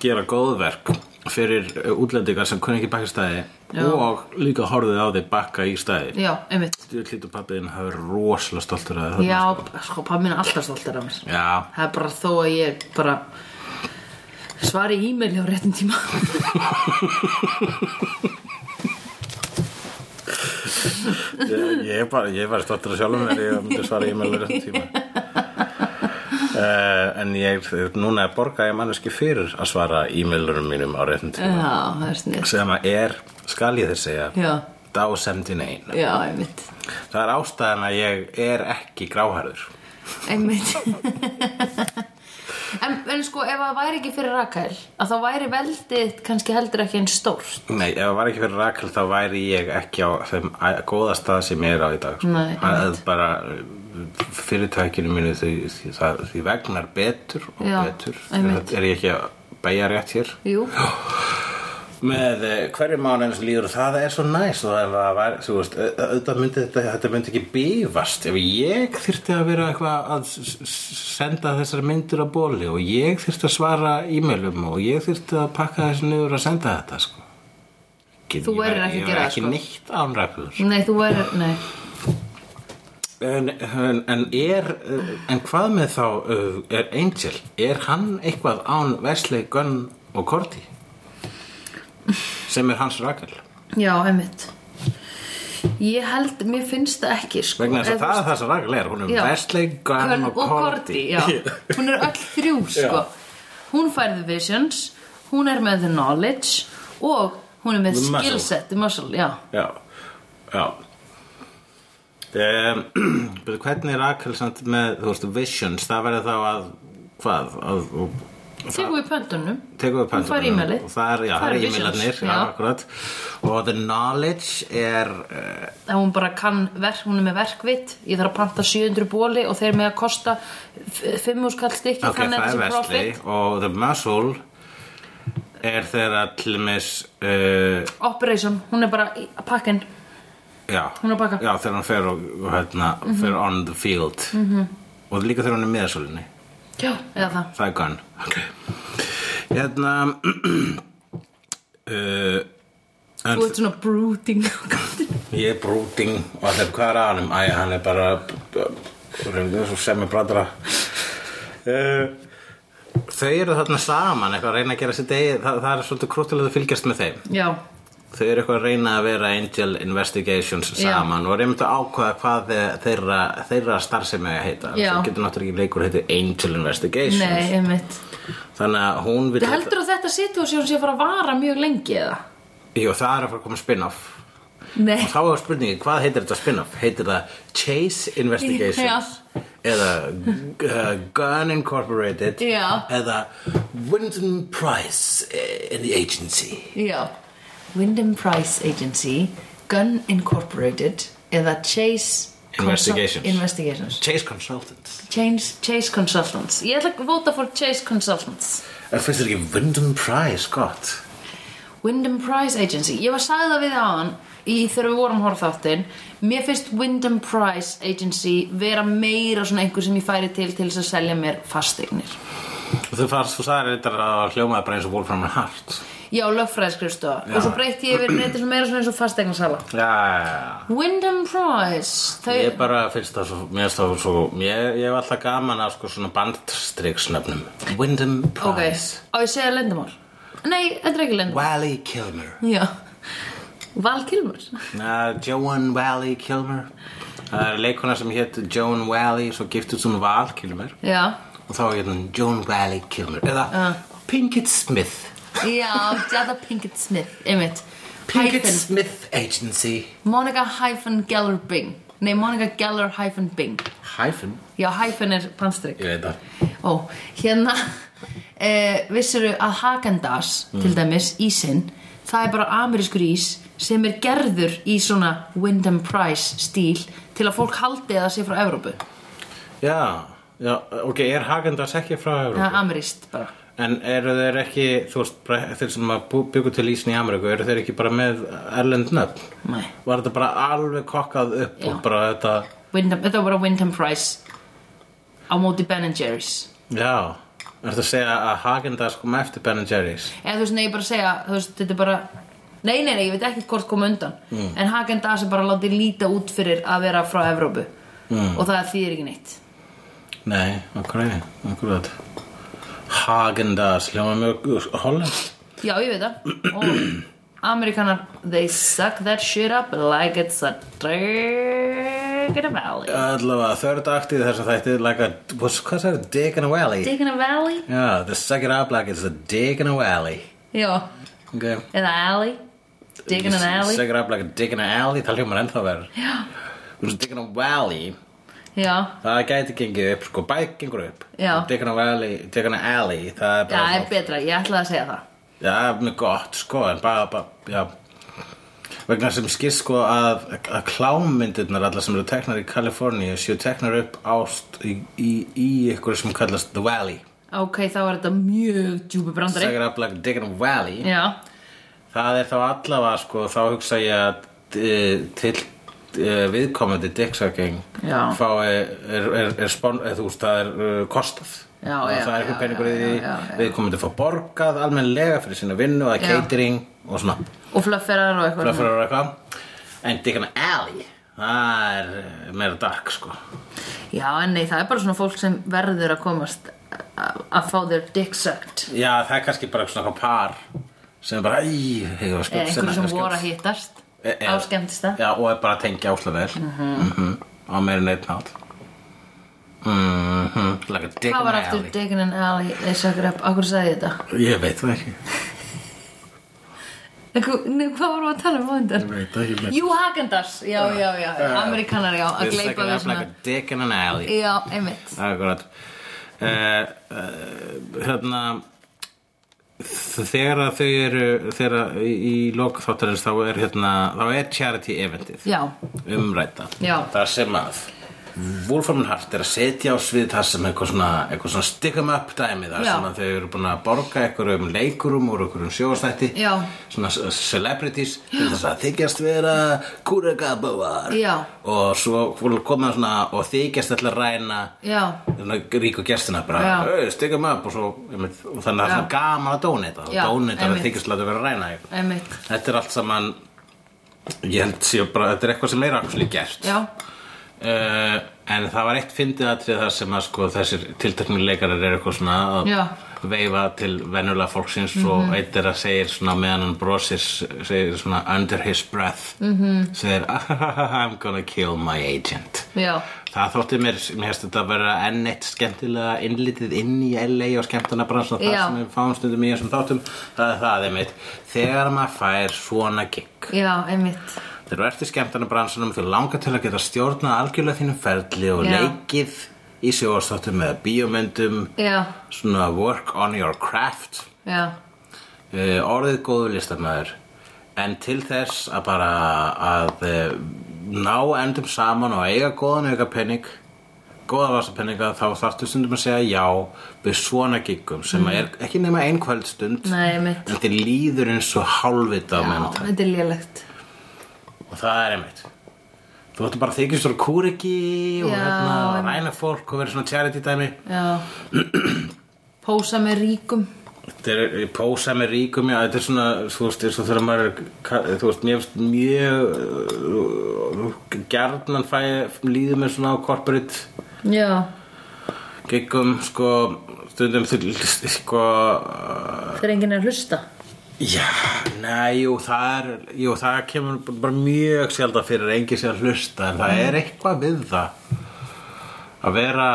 Speaker 1: gera góðverk fyrir eh, útlendingar sem kunni ekki bakka í stæði
Speaker 2: Já.
Speaker 1: og líka horfði á þig bakka í stæði
Speaker 2: já, einmitt
Speaker 1: Þú hlýtur pappiðin að hafa verið rosalega stoltur að það
Speaker 2: Já, sko, pabbi minn er alltaf stoltar af mér
Speaker 1: Já,
Speaker 2: Það er bara þó að ég bara svari e-mail á réttum tíma
Speaker 1: ég, ég, er bara, ég var stoltur að sjálfum mér ég myndi svara e-mailur þetta tíma Uh, en ég, núna er borga ég manneski fyrir að svara e-mailurum mínum á réttum tíma
Speaker 2: Já, það er snill
Speaker 1: sem að er, skal ég þér segja
Speaker 2: Já,
Speaker 1: dásendin ein
Speaker 2: já, einmitt
Speaker 1: það er ástæðan að ég er ekki gráhærður
Speaker 2: Einmitt en, en sko ef það væri ekki fyrir Rakel að þá væri veldið kannski heldur ekki einn stór
Speaker 1: nei, ef það var ekki fyrir Rakel þá væri ég ekki á þeim æ- góða stað sem ég er á í dag sko.
Speaker 2: Nei,
Speaker 1: það er bara uh, fyrirtækinu mínu því, því, það, því vegnar betur og
Speaker 2: Já,
Speaker 1: betur
Speaker 2: einmitt.
Speaker 1: er ég ekki að beigja rétt hér
Speaker 2: Jú,
Speaker 1: með eh, hverju mánuðin sem líður það er svo næst og ef það var, þú veist, au- auðvitað myndi þetta, þetta myndi ekki bífast ef ég þyrfti að vera eitthvað að s- s- senda þessar myndir á bóli og ég þyrfti að svara e-mailum og ég þyrfti að pakka þessu niður að senda þetta sko. Get,
Speaker 2: Þú
Speaker 1: ég væri-
Speaker 2: værir ekki að
Speaker 1: ég væri
Speaker 2: gera það,
Speaker 1: ekki
Speaker 2: sko.
Speaker 1: neitt ánrækður
Speaker 2: nei þú væri Nei,
Speaker 1: en, en, en er eh, en hvað með þá eh, er Angel, er hann eitthvað án Wesley, Gunn og Korti sem er hans rakal
Speaker 2: já, einmitt Ég held, mér finnst það ekki sko,
Speaker 1: vegna þess
Speaker 2: Ef-
Speaker 1: að það er það sem rækulega er hún er
Speaker 2: Já.
Speaker 1: Wesley, Gunn
Speaker 2: Körn
Speaker 1: og Cordy
Speaker 2: já. Hún er öll þrjú sko. Hún fær the visions Hún er með the knowledge Og hún er með
Speaker 1: The muscle.
Speaker 2: skillset The muscle, já
Speaker 1: já, já. Um, betur, hvernig er Rakel samt með þú veist, visions, það verður þá að hvað, að, og,
Speaker 2: Tegum við pöntunum
Speaker 1: tekum við
Speaker 2: Hún fær
Speaker 1: pöntunum.
Speaker 2: e-mailið.
Speaker 1: og það er, já, það
Speaker 2: Það
Speaker 1: er
Speaker 2: eru visions,
Speaker 1: e-mailarnir já,
Speaker 2: já.
Speaker 1: akkurat og the knowledge er uh,
Speaker 2: að hún bara kann verk, hún er með verkvitt ég þarf að panta 700 bóli og þeir með að kosta 5 skall stykki
Speaker 1: ok, það er Wesley og the muscle er þeirra til mis uh,
Speaker 2: Operation, hún er bara í- að pakka inn
Speaker 1: Já,
Speaker 2: Hún er að baka. Mhm.
Speaker 1: já þegar hann fer, og, og hérna, fer on the field -hmm. og líka þegar hann er miðasölinni
Speaker 2: Já, eða það
Speaker 1: það er gunn okay. hérna uh, en
Speaker 2: Þú ert svona brooding á kantinu.
Speaker 1: ég er brúting og allir hvað er að hann Æ, hann er bara sem er bradra uh, þau eru þarna saman eitthvað að reyna að gera sér degi það, það er svolítið krúttilega að fylgjast með þeim
Speaker 2: Já,
Speaker 1: þau eru eitthvað að reyna að vera Angel Investigations
Speaker 2: Já.
Speaker 1: saman og reymdu að ákvaða hvað þe- þeirra, þeirra starfsemi að heita
Speaker 2: Já.
Speaker 1: það getur náttúrulega ekki leikur heiti Angel Investigations
Speaker 2: nei, einmitt
Speaker 1: þannig að hún vil
Speaker 2: Þú heldur að þetta situasjón sé að fara að vara mjög lengi eða?
Speaker 1: Jú, það er að fara að koma spin-off
Speaker 2: Nei,
Speaker 1: og þá er spurningi, hvað heitir þetta spin-off? heitir það Chase Investigations eða uh, Gun Incorporated
Speaker 2: Já.
Speaker 1: eða Wyndham Price eh, and the Agency
Speaker 2: já Wyndham Price Agency Gun Incorporated eða Chase
Speaker 1: Investigations.
Speaker 2: Investigations.
Speaker 1: Chase Consultants
Speaker 2: Chase, Chase Consultants Ég ætla að vota fór Chase Consultants
Speaker 1: en finnst þér ekki Wyndham Price gott?
Speaker 2: Wyndham Price Agency Ég var sagði það við hann í þegar við vorum horf þáttinn Mér finnst Wyndham Price Agency vera meira svona einhver sem ég færi til til þess að selja mér fasteignir
Speaker 1: Og Þú fannst, þú sagði reyndar að hljómaði bara eins og Wolfram and Hart
Speaker 2: Já, lögfræðskristofa
Speaker 1: Já.
Speaker 2: og svo breytti ég yfir neitt meira svona eins og fasteignasala
Speaker 1: Já, já, já
Speaker 2: Wyndham Price þau,
Speaker 1: Ég bara finnst það svo, mér finnst það svo Ég, ég hef alltaf gaman að sko svona bandstriksnöfnum Wyndham
Speaker 2: Ok,
Speaker 1: Price
Speaker 2: á ég að segja lendamál Nei, þetta er ekki lendamál
Speaker 1: Wally Kilmer
Speaker 2: Já, Val Kilmer
Speaker 1: uh, Joan Wally Kilmer það er leikona sem hétt Joan Wally svo giftist hún Val Kilmer
Speaker 2: já,
Speaker 1: og þá er hún Joan Wally Kilmer eða
Speaker 2: Ah.
Speaker 1: Pinkett Smith
Speaker 2: já, Jada Pinkett Smith, einmitt
Speaker 1: Pinkett
Speaker 2: Hyphen.
Speaker 1: Smith Agency
Speaker 2: Monica hyphen Geller Bing Nei, Monica Geller hyphen Bing
Speaker 1: Hyphen
Speaker 2: Já, hyphen er pannstrykk
Speaker 1: Ég veit það
Speaker 2: Ó, hérna e, Vissuru að Hagendas til dæmis, ísinn Það er bara amerískur ís sem er gerður í svona Wyndham Price stíl til að fólk haldi að það sé frá Evrópu
Speaker 1: Já, já, ok, er Hagendars ekki frá Evrópu?
Speaker 2: Það er ameríst bara
Speaker 1: En eru þeir ekki, þú veist, bara þeir sem að bú- byggu til ísinn í Ameríku, eru þeir ekki bara með erlend nöfn?
Speaker 2: Nei.
Speaker 1: Var þetta bara alveg kokkað upp og
Speaker 2: Já.
Speaker 1: bara þetta,
Speaker 2: Wyndham, Þetta var bara Wyndham Price á móti Ben Jerry's
Speaker 1: já, er þetta að segja að Hagendars kom eftir Ben Jerry's?
Speaker 2: eða þú veist, nei, ég bara segja, þú veist, þetta er bara nei, nei, nei, ég veit ekki hvort koma undan en Hagen Dazs er bara látið líta út fyrir að vera frá Evrópu mm. og það þýðir ekki neitt
Speaker 1: Nei, okkur eða, okkur eða. Hagendars, hljóma mjög hollenskt.
Speaker 2: já, ég veit það og Amerikanar, they suck that shit up like it's a drag in a valley
Speaker 1: Allavega, third aktið þess að þætti, like a, what's, hvað sagði, dick in a valley?
Speaker 2: dick in a valley,
Speaker 1: Já, the second up like it's a dick in a valley.
Speaker 2: já,
Speaker 1: Okay.
Speaker 2: eða alley dick in an alley,
Speaker 1: Second up like a dick in a alley, það hljómar ennþá verður. Já. Þú veist, dick in a valley.
Speaker 2: já
Speaker 1: Það gæti gengið upp, sko, bæk gengur upp
Speaker 2: Já.
Speaker 1: Diggana Valley, Diggana Alley Það er
Speaker 2: já, það
Speaker 1: bara
Speaker 2: er betra, ég ætlaði að segja það
Speaker 1: Já, það er mjög gott, sko En bara, bara, já Vegna sem skil, sko, að, að klámyndirnar Allar sem eru teknar í Kaliforníu Séu teknar upp ást í, í, í ykkur sem kallast The Valley
Speaker 2: ok, þá er þetta mjög djúpi brandari
Speaker 1: Sækir aflega Diggana Valley
Speaker 2: já,
Speaker 1: Það er þá allavega, sko Þá hugsa ég að e, til e, viðkomandi Dixageng
Speaker 2: Já.
Speaker 1: fái er, er, er, spon, er, þú veist, það er uh, kostað
Speaker 2: Já,
Speaker 1: Og
Speaker 2: já,
Speaker 1: það er
Speaker 2: já,
Speaker 1: eitthvað peningur í
Speaker 2: já,
Speaker 1: því
Speaker 2: já, já, já.
Speaker 1: við komum til að fá borgað almennlega fyrir sína vinnu og
Speaker 2: Já. Mhm.
Speaker 1: catering og svona
Speaker 2: og flöfferar og eitthvað
Speaker 1: flöfur og eitthvað en Dickon Alley það er eh, meira dark sko
Speaker 2: Já, en nei, það er bara svona fólk sem verður að komast að að fá þeir dick sucked
Speaker 1: já það er kannski bara svona eitthvað par sem er bara æ, hey, var
Speaker 2: eða
Speaker 1: skjótt,
Speaker 2: einhverju sem
Speaker 1: var skjótt."
Speaker 2: voru að hittast
Speaker 1: E-
Speaker 2: á Mhm.
Speaker 1: eða-
Speaker 2: skemmtist það
Speaker 1: já og er bara að tengja óslega vel mm á meira neitt nátt mm -hmm. like a
Speaker 2: Hvað
Speaker 1: Dickon
Speaker 2: var aftur
Speaker 1: Alley
Speaker 2: Dagon and Alley þeir sökkur upp, okkur sagði ég þetta
Speaker 1: ég veit það ekki
Speaker 2: En hva- Nei, hvað vorum við að tala um hóndar?
Speaker 1: veit það ekki
Speaker 2: Jú, Hagendars, já,
Speaker 1: Ah.
Speaker 2: já, já, já. Amerikanar, já, að gleypa við svona
Speaker 1: Dickon Alley
Speaker 2: Já, einmitt
Speaker 1: Akkurat uh, uh, Hérna Þegar að þau eru Þegar að í, í lok þáttarins þá er hérna, þá er charity eventið
Speaker 2: Já,
Speaker 1: umræta
Speaker 2: Já.
Speaker 1: Það sem að Wolfram Hart er að setja á svið það sem eitthvað svona, eitthvað svona stickum up dæmi það
Speaker 2: Já.
Speaker 1: sem að þau eru búin að borga einhverjum leikurum úr einhverjum sjóastætti
Speaker 2: Já.
Speaker 1: svona c- celebrities til þess að þykjast vera kúregabóar
Speaker 2: Já.
Speaker 1: og svo voru koma svona og þykjast ætla að ræna
Speaker 2: já,
Speaker 1: Þannig að ríku gestina bara,
Speaker 2: Já.
Speaker 1: "Hey, stikka mig upp og, svo, einmitt, og þannig að það er gaman að dónita og
Speaker 2: Já,
Speaker 1: dónita er
Speaker 2: einmitt.
Speaker 1: þykist láta vera að ræna þig.
Speaker 2: einmitt
Speaker 1: Þetta er allt saman ég held sér bara, þetta er eitthvað sem er aksli gert
Speaker 2: Já,
Speaker 1: uh, en það var eitt fyndið atrið þar sem að sko, þessir tilteknir leikarar eru eitthvað svona að
Speaker 2: Já. Mhm.
Speaker 1: veifa til venjulega fólksins og eitt er að segir svona meðan hann brosir segir svona under his breath mm
Speaker 2: Mhm.
Speaker 1: -hmm. segir I'm gonna kill my agent
Speaker 2: já,
Speaker 1: Það þótti mér, mér hefst þetta að vera enn eitt skemmtilega innlitið inn í LA og skemmtana bransan það
Speaker 2: Já.
Speaker 1: sem við fáum stundum í þessum þáttum það er það einmitt þegar maður fær svona gig
Speaker 2: já, einmitt
Speaker 1: þegar þú ert í skemmtana bransanum þú langar til að geta stjórnað algjörlega þínum ferli og
Speaker 2: Já.
Speaker 1: leikið í sjóðstáttum eða bíómyndum
Speaker 2: Já,
Speaker 1: svona work on your craft
Speaker 2: já,
Speaker 1: uh, orðið góðu listamæður en til þess að bara að uh, ná endum saman og eiga góðan auka penning góða vasapenninga þá þarftu stundum að segja já við svona giggum sem er ekki nema ein kvöldstund
Speaker 2: Mm. nei, einmitt
Speaker 1: en þetta líður eins og hálfvita á
Speaker 2: Já,
Speaker 1: meðan
Speaker 2: þetta er lélegt
Speaker 1: og það er einmitt þú ætti bara að þykja svona kúriki og
Speaker 2: Já,
Speaker 1: hérna,
Speaker 2: einmitt.
Speaker 1: ræna fólk og vera svona charity dæmi
Speaker 2: Já Pósa með ríkum
Speaker 1: Þetta er pósa með ríkum, já, þetta er svona, þú veist, eins og þegar maður, er ka- þú veist, mér finnst mjög, uh, gjarnan fæ, líður mér svona á corporate
Speaker 2: Já,
Speaker 1: giggum, sko, stundum, þú- sko,
Speaker 2: þegar enginn er að hlusta
Speaker 1: Já, nei, jú, það er, jú, það kemur b- bara mjög sjaldan fyrir að enginn sé að hlusta en það er eitthvað við það að vera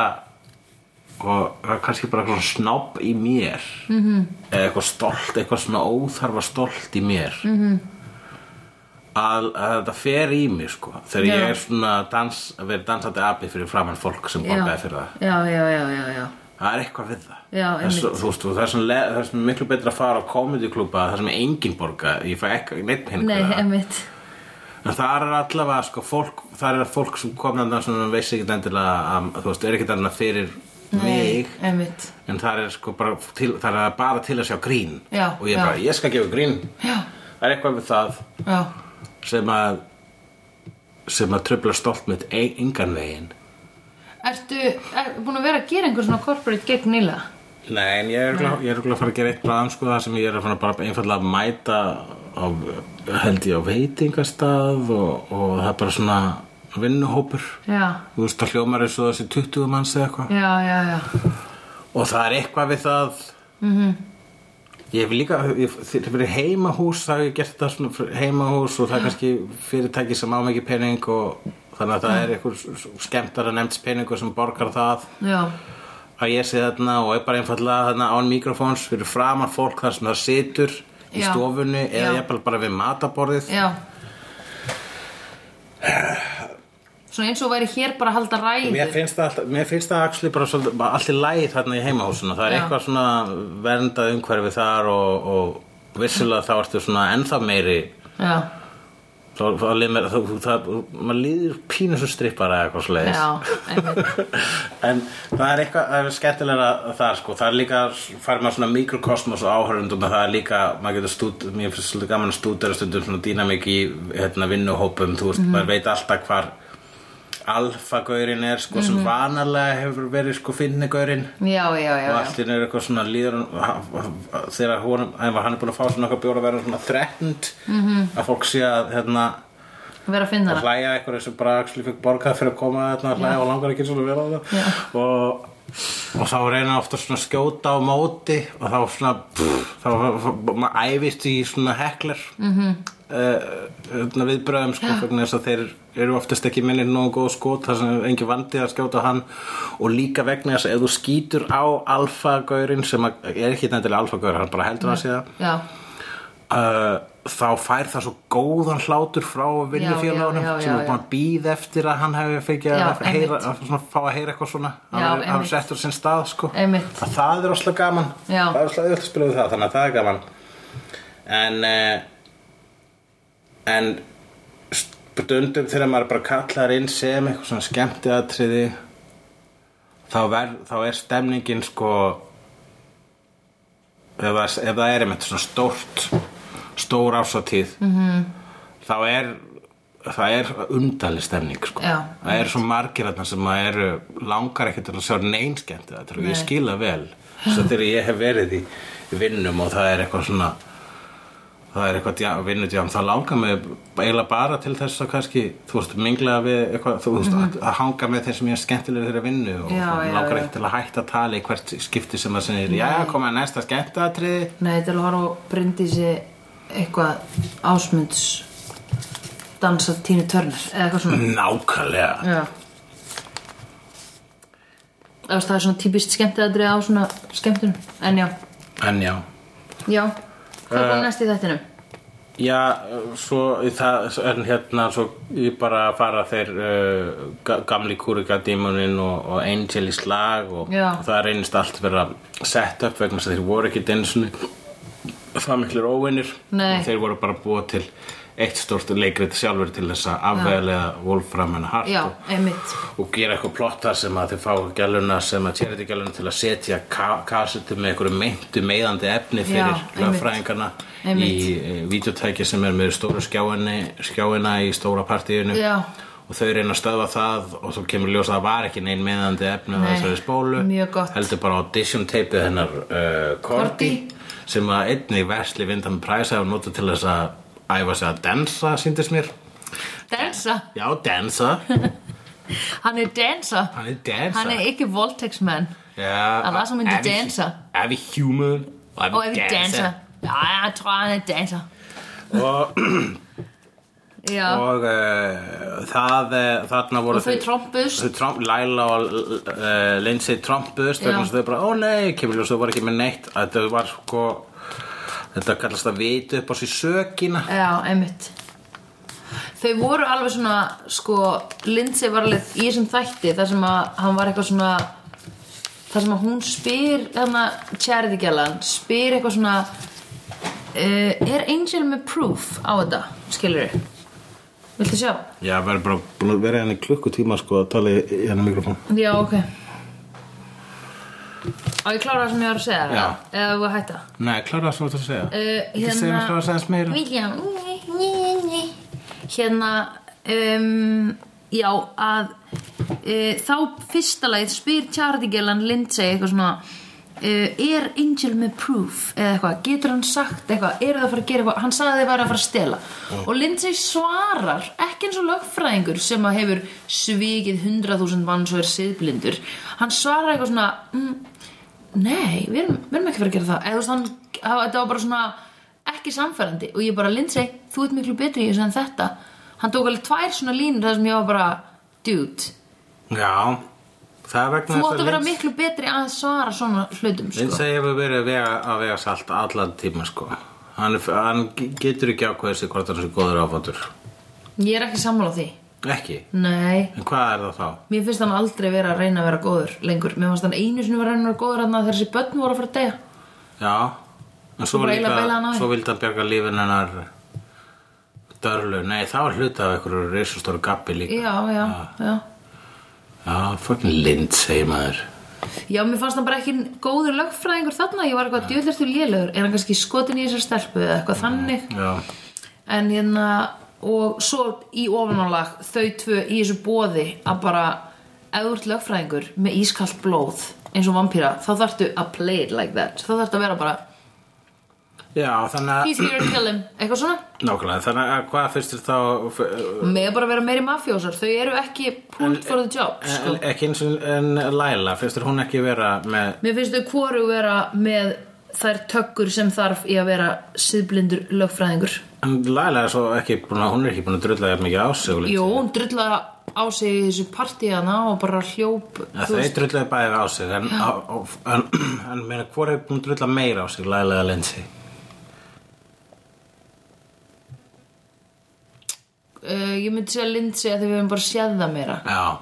Speaker 1: og það er kannski bara eitthvað snobb í mér -hmm.
Speaker 2: Mhm.
Speaker 1: eða eitthvað stolt, eitthvað svona óþarfa stolt í mér -hmm.
Speaker 2: Mhm.
Speaker 1: að, að þetta fer í mig sko þegar
Speaker 2: Já.
Speaker 1: ég er svona dans, að vera dansandi api fyrir framann fólk sem borgaði fyrir það
Speaker 2: já, já, já, já, já.
Speaker 1: það er eitthvað við það
Speaker 2: Já,
Speaker 1: það, er svo,
Speaker 2: einmitt.
Speaker 1: þú veist, og það, er svona, le- það er svona miklu betra að fara á komediklúpa það sem engin borga, ég fæ ekki neitt pening
Speaker 2: Nei,
Speaker 1: fyrir það.
Speaker 2: einmitt
Speaker 1: en það er allavega sko, fólk, það er fólk sem kom þarna sem veist ekki endilega að, þú veist, er ekki þarna fyrir mig
Speaker 2: Nei, einmitt
Speaker 1: en það er sko bara til, það er bara til að sjá grín
Speaker 2: Já,
Speaker 1: og ég
Speaker 2: já.
Speaker 1: bara, ég skal gefa grín
Speaker 2: Já,
Speaker 1: það er eitthvað við það
Speaker 2: já,
Speaker 1: sem að sem að tröfla stolt mitt ein- engan veginn
Speaker 2: Ertu er, búin að vera að gera einhver svona corporate gig nýlega?
Speaker 1: Nei, en ég er örugglega að fara að gera eitt bræðan sko það sem ég er að fara bara einfallega að mæta á, held ég á veitingastað og, og það er bara svona vinnuhópur
Speaker 2: Já,
Speaker 1: þú veist það hljómar eins og þessi 20 manns eða eitthvað
Speaker 2: já, já, já
Speaker 1: og það er eitthvað við það mm -hmm. ég hef líka ég- þegar fyrir heimahús það hef ég gert þetta svona fyrir heimahús og það er kannski fyrirtæki sem á mikið pening og þannig að það er eitthvað skemmtara nefnds peningur sem borgar það
Speaker 2: Já,
Speaker 1: að ég sé þarna og er bara einfallega þarna án mikrofóns fyrir framan fólk þar sem það situr í
Speaker 2: Já.
Speaker 1: stofunni eða
Speaker 2: Já.
Speaker 1: ég bara, bara við mataborðið
Speaker 2: já Svona eins og væri hér bara að halda
Speaker 1: mér
Speaker 2: ræðu
Speaker 1: finnst það, alltaf, mér finnst það actually bara svolítið, bara allt í lagi þarna í heimahúsuna það er
Speaker 2: Já.
Speaker 1: eitthvað svona verndað umhverfi þar og, og vissulega þá ertu svona ennþá meiri
Speaker 2: Já,
Speaker 1: þá, þá limir, þú, þú, það, maður líður pínu svo strippara eða eitthvað
Speaker 2: já,
Speaker 1: slegis
Speaker 2: einmitt
Speaker 1: en það er eitthvað það er skemmtilega þar sko það er líka, fær maður svona mikrokosmos og áhörundum og það er líka, maður getur stúd mér finnst svolítið gaman að stúdera stundum svona dýnamik í hérna, vinnuhópum, þú veist maður veit alltaf hvar alfagaurinn er sko sem vanalega hefur verið sko finnigurinn
Speaker 2: Já, já,
Speaker 1: og
Speaker 2: já, já.
Speaker 1: allt í er eitthvað svona líður hann- þegar honum, hann var- hann er búin að fá svona eitthvað bjóra að vera svona þrettnd að fólk sé að hérna
Speaker 2: vera að finna
Speaker 1: að
Speaker 2: það
Speaker 1: hlæja eitthvað sem bara actually fikk borgað fyrir að koma þarna að hlæja og langar ekki svona vel á
Speaker 2: Já.
Speaker 1: það og, og þá reyna ofta svona að skjóta á móti og þá svona pff, þá maður æfist í svona heklar mm -hmm. uh, viðbröðum sko, vegna þess að þeir eru oftast ekki minnir nógu góð skot þar sem er engin vandi að skjóta á hann og líka vegna þess að ef þú skýtur á alfagaurinn sem að, er ekki nættilega alfagaur hann bara heldur að sé það
Speaker 2: Já,
Speaker 1: Uh, þá fær það svo góðan hlátur frá vinnufélagunum
Speaker 2: Já, já, já,
Speaker 1: sem er
Speaker 2: já.
Speaker 1: búin að býða eftir að hann hefði fengið
Speaker 2: Já,
Speaker 1: að, heyra,
Speaker 2: einmitt.
Speaker 1: að svona, fá að heyra eitthvað svona
Speaker 2: Já,
Speaker 1: hann er- hann
Speaker 2: einmitt.
Speaker 1: er settur á sinn stað sko.
Speaker 2: Einmitt.
Speaker 1: að það er rosslega gaman
Speaker 2: Já.
Speaker 1: það er rosslega öll að spila við það þannig að það er gaman en uh, en stundum þegar maður er bara kallar inn sem eitthvað svona skemmtiðatriði þá, ver, þá er stemningin sko ef það, ef það er einmitt svona stórt stór ásatíð -hmm.
Speaker 2: Mhm.
Speaker 1: þá er það er undali stemning sko.
Speaker 2: Já,
Speaker 1: það er svo margir þarna sem að eru langar ekki til að sjá neinskend þetta og ég
Speaker 2: Nei.
Speaker 1: skila vel svo þegar ég hef verið í, í vinnum og það er eitthvað svona það er eitthvað djá, vinnudjám þá langar mig eiginlega bara til þess að kannski þú veist, mingla við eitthvað þú veist, að, að hanga með þeir sem ég er skemmtilega þeirra vinnu og
Speaker 2: Mhm. Já,
Speaker 1: og
Speaker 2: já,
Speaker 1: langar
Speaker 2: já.
Speaker 1: ekki til að hætta að tala í hvert skipti sem það segir, já, koma næsta skemmtatriði
Speaker 2: nei, til að horfa og brindi sér eitthvað ásmunds dansa Tínu Törnur eða eitthvað svona
Speaker 1: Nákvæmlega
Speaker 2: Já Það veist, það er svona típist skemmtiðadrið á svona skemmtunum En já,
Speaker 1: En já
Speaker 2: já Hvað er uh, næst í þættinum?
Speaker 1: Já, svo það, en hérna svo ég bara fara þeir uh, ga- gamli kúrikadímunin og, og Angel í slag og
Speaker 2: Já.
Speaker 1: það reynist allt vera sett upp vegna þess að þeir voru ekki densunni það miklir óvinnir
Speaker 2: Nei.
Speaker 1: og þeir voru bara búa til eitt stórt leikrit sjálfur til þess að afvegilega Wolfram en Hart
Speaker 2: Já,
Speaker 1: og,
Speaker 2: einmitt
Speaker 1: og gera eitthvað plotta sem að þið fá gæluna sem að charity gæluna til að setja ka kassetu með einhverju meintu meðandi efni fyrir
Speaker 2: einmitt.
Speaker 1: lögfræðingarna í
Speaker 2: Einmitt.
Speaker 1: e, videotæki sem er með stóru skjáinni, skjáina í stóra partíinu
Speaker 2: Já.
Speaker 1: og þau reyna að stöðva það og þú kemur ljós að það var ekki neinn meðandi efni á
Speaker 2: Nei,
Speaker 1: þessari spólu
Speaker 2: mjög gott.
Speaker 1: heldur bara audition tapeið hennar uh, Korti
Speaker 2: Cordy.
Speaker 1: sem að einnig versli vindan præsa og nota til þess að æfa sig að dansa síndist mér
Speaker 2: Dansa,
Speaker 1: já, dansa,
Speaker 2: hann er dansa
Speaker 1: hann er dansa
Speaker 2: Hann er ekki voltex man
Speaker 1: Ja,
Speaker 2: Alla som inte
Speaker 1: är vi-
Speaker 2: dansar.
Speaker 1: Är vi human?
Speaker 2: Og ef við dansa Já, ég tror hann er data
Speaker 1: og,
Speaker 2: Já,
Speaker 1: og
Speaker 2: og,
Speaker 1: uh, það, uh, þarna voru
Speaker 2: þau trompuðust
Speaker 1: þau Trump, Laila og uh, Lindsay Trumpust
Speaker 2: Já.
Speaker 1: vegna þess að þau bara, ó nei, kemur ljós þau voru ekki með neitt að þau var sko þetta kallast að vita upp á sér sökina
Speaker 2: Já, einmitt Þau voru alveg svona sko, Lindsay var alveg í þessum þætti þar sem að hann var eitthvað svona þar sem að hún spyr þarna charity gælan spyr eitthvað svona uh, er Angel með proof á þetta skilur þau Viltu sjá?
Speaker 1: Já, verður bara búin að vera henni klukkutíma sko að tala í í henni mikrofón
Speaker 2: Já, ok Á ég klára það sem ég var að segja
Speaker 1: Já.
Speaker 2: það eða þú að hætta
Speaker 1: Nei, klára það sem þú ert að segja
Speaker 2: Uh,
Speaker 1: Ekki segja mér frá þess aðeins meira
Speaker 2: William Hérna um, Já að uh, Þá fyrsta leið spyr Tjardigelan Lindsay eitthvað svona uh, Er Angel með proof eða eitthvað, getur hann sagt eitthvað eru það að fara að gera eitthvað, hann sagði að þið væri að fara að stela og Lindsay svarar ekki eins og lögfræðingur sem að hefur svikið 100.000 manns og er siðblindur, hann svarar eitthvað svona mm, Nei, við erum, við erum ekki fyrir að gera það Eða þú veist, hann- hann- þetta var bara svona ekki samfærandi og ég bara, Lindsay, þú ert miklu betri í þessu en þetta Hann tók alveg tvær svona línur þar sem ég var bara Dude,
Speaker 1: Já, það er vegna
Speaker 2: þú
Speaker 1: þess
Speaker 2: mátt að vera
Speaker 1: Lindsay-
Speaker 2: miklu betri að svara svona hlutum sko.
Speaker 1: Lindsay hefur verið að vega, að vega salt allan tíma sko Hann, er- hann ge- getur ekki ákveðið sig hvort hann sé góður áfandur
Speaker 2: Ég er ekki sammála því
Speaker 1: Ekki,
Speaker 2: Nei,
Speaker 1: en hvað er það þá?
Speaker 2: mér finnst hann aldrei vera að reyna að vera góður lengur Mér finnst hann einu sinni vera að reyna að vera góður hann þegar þessi börn voru að fara að deyja
Speaker 1: Já En svo,
Speaker 2: Þú bara eiginlega beilaði hann á
Speaker 1: líka,
Speaker 2: því.
Speaker 1: svo vildi hann bjarga lífin hennar Dörlu Nei, það var hluti af einhverju reisastóru gabbi líka
Speaker 2: Já, já,
Speaker 1: Ah.
Speaker 2: já
Speaker 1: Já, fucking lind, segir maður
Speaker 2: Já, mér fannst hann bara ekki góður lögfræðingur þarna, ég var
Speaker 1: Ah.
Speaker 2: eitthvað djöðlertu lélegur, er hann kannski skotin í þessar stelpu eða eitthvað þannig
Speaker 1: Já,
Speaker 2: en hérna og svo í ofanálag þau tvö í þessu boði að bara ef þú ert lögfræðingur með ískalt blóð eins og vampíra þá þarftu að play it like that þá þarftu að vera bara
Speaker 1: Já þannig
Speaker 2: he's here to kill him eitthvað svona
Speaker 1: að Nákvæmlega, þannig að hvað fyrst er þá
Speaker 2: og með bara vera meiri mafjósar þau eru ekki pulled for the job sko.
Speaker 1: en, Ekki eins og en Laila Fyrst er hún ekki vera með
Speaker 2: mér finnst þau hvoru vera með þær tökkur sem þarf í að vera síðblindur lögfræðingur
Speaker 1: En Laila er svo ekki búin að Hún er ekki búin að drulla jafn mikið á sig og Lindsay.
Speaker 2: Jú, hún drullaði á sig í þessu partíana og bara hljóp
Speaker 1: Ja,
Speaker 2: þú
Speaker 1: Þau drulluðu bæði á sig En, á, á, en, en meina, hvor er búin að drulla meira á sig Laila eða Lindsay?
Speaker 2: uh, ég myndi segja Lindsay að því við höfum bara séð það meira
Speaker 1: Já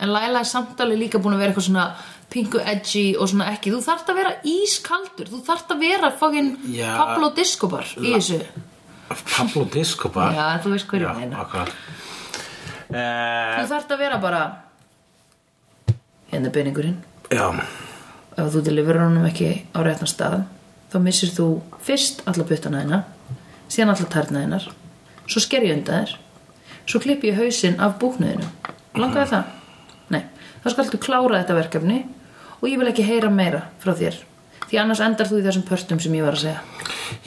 Speaker 2: en Laila er samtali líka búin að vera eitthvað svona pingu edgy og svona ekki þú þarft að vera ískaldur, þú þarft að vera fokkin
Speaker 1: Já.
Speaker 2: Pablo Discobar í þessu
Speaker 1: Pablo Discobar
Speaker 2: já, þú hérna. veist hverju
Speaker 1: Já,
Speaker 2: ég meina
Speaker 1: akkurat uh,
Speaker 2: þú þarft að vera bara hérna er peningurinn
Speaker 1: Já,
Speaker 2: ef þú deliverur honum ekki á réttan stað þá missir þú fyrst alla puttana þína síðan alla tærna þínar svo sker ég undan þér svo klippi ég hausinn af búknuðinu langaði það? Nei, þá skaltu klára þetta verkefni og ég vil ekki heyra meira frá þér því annars endar þú í þessum pörtum sem ég var að segja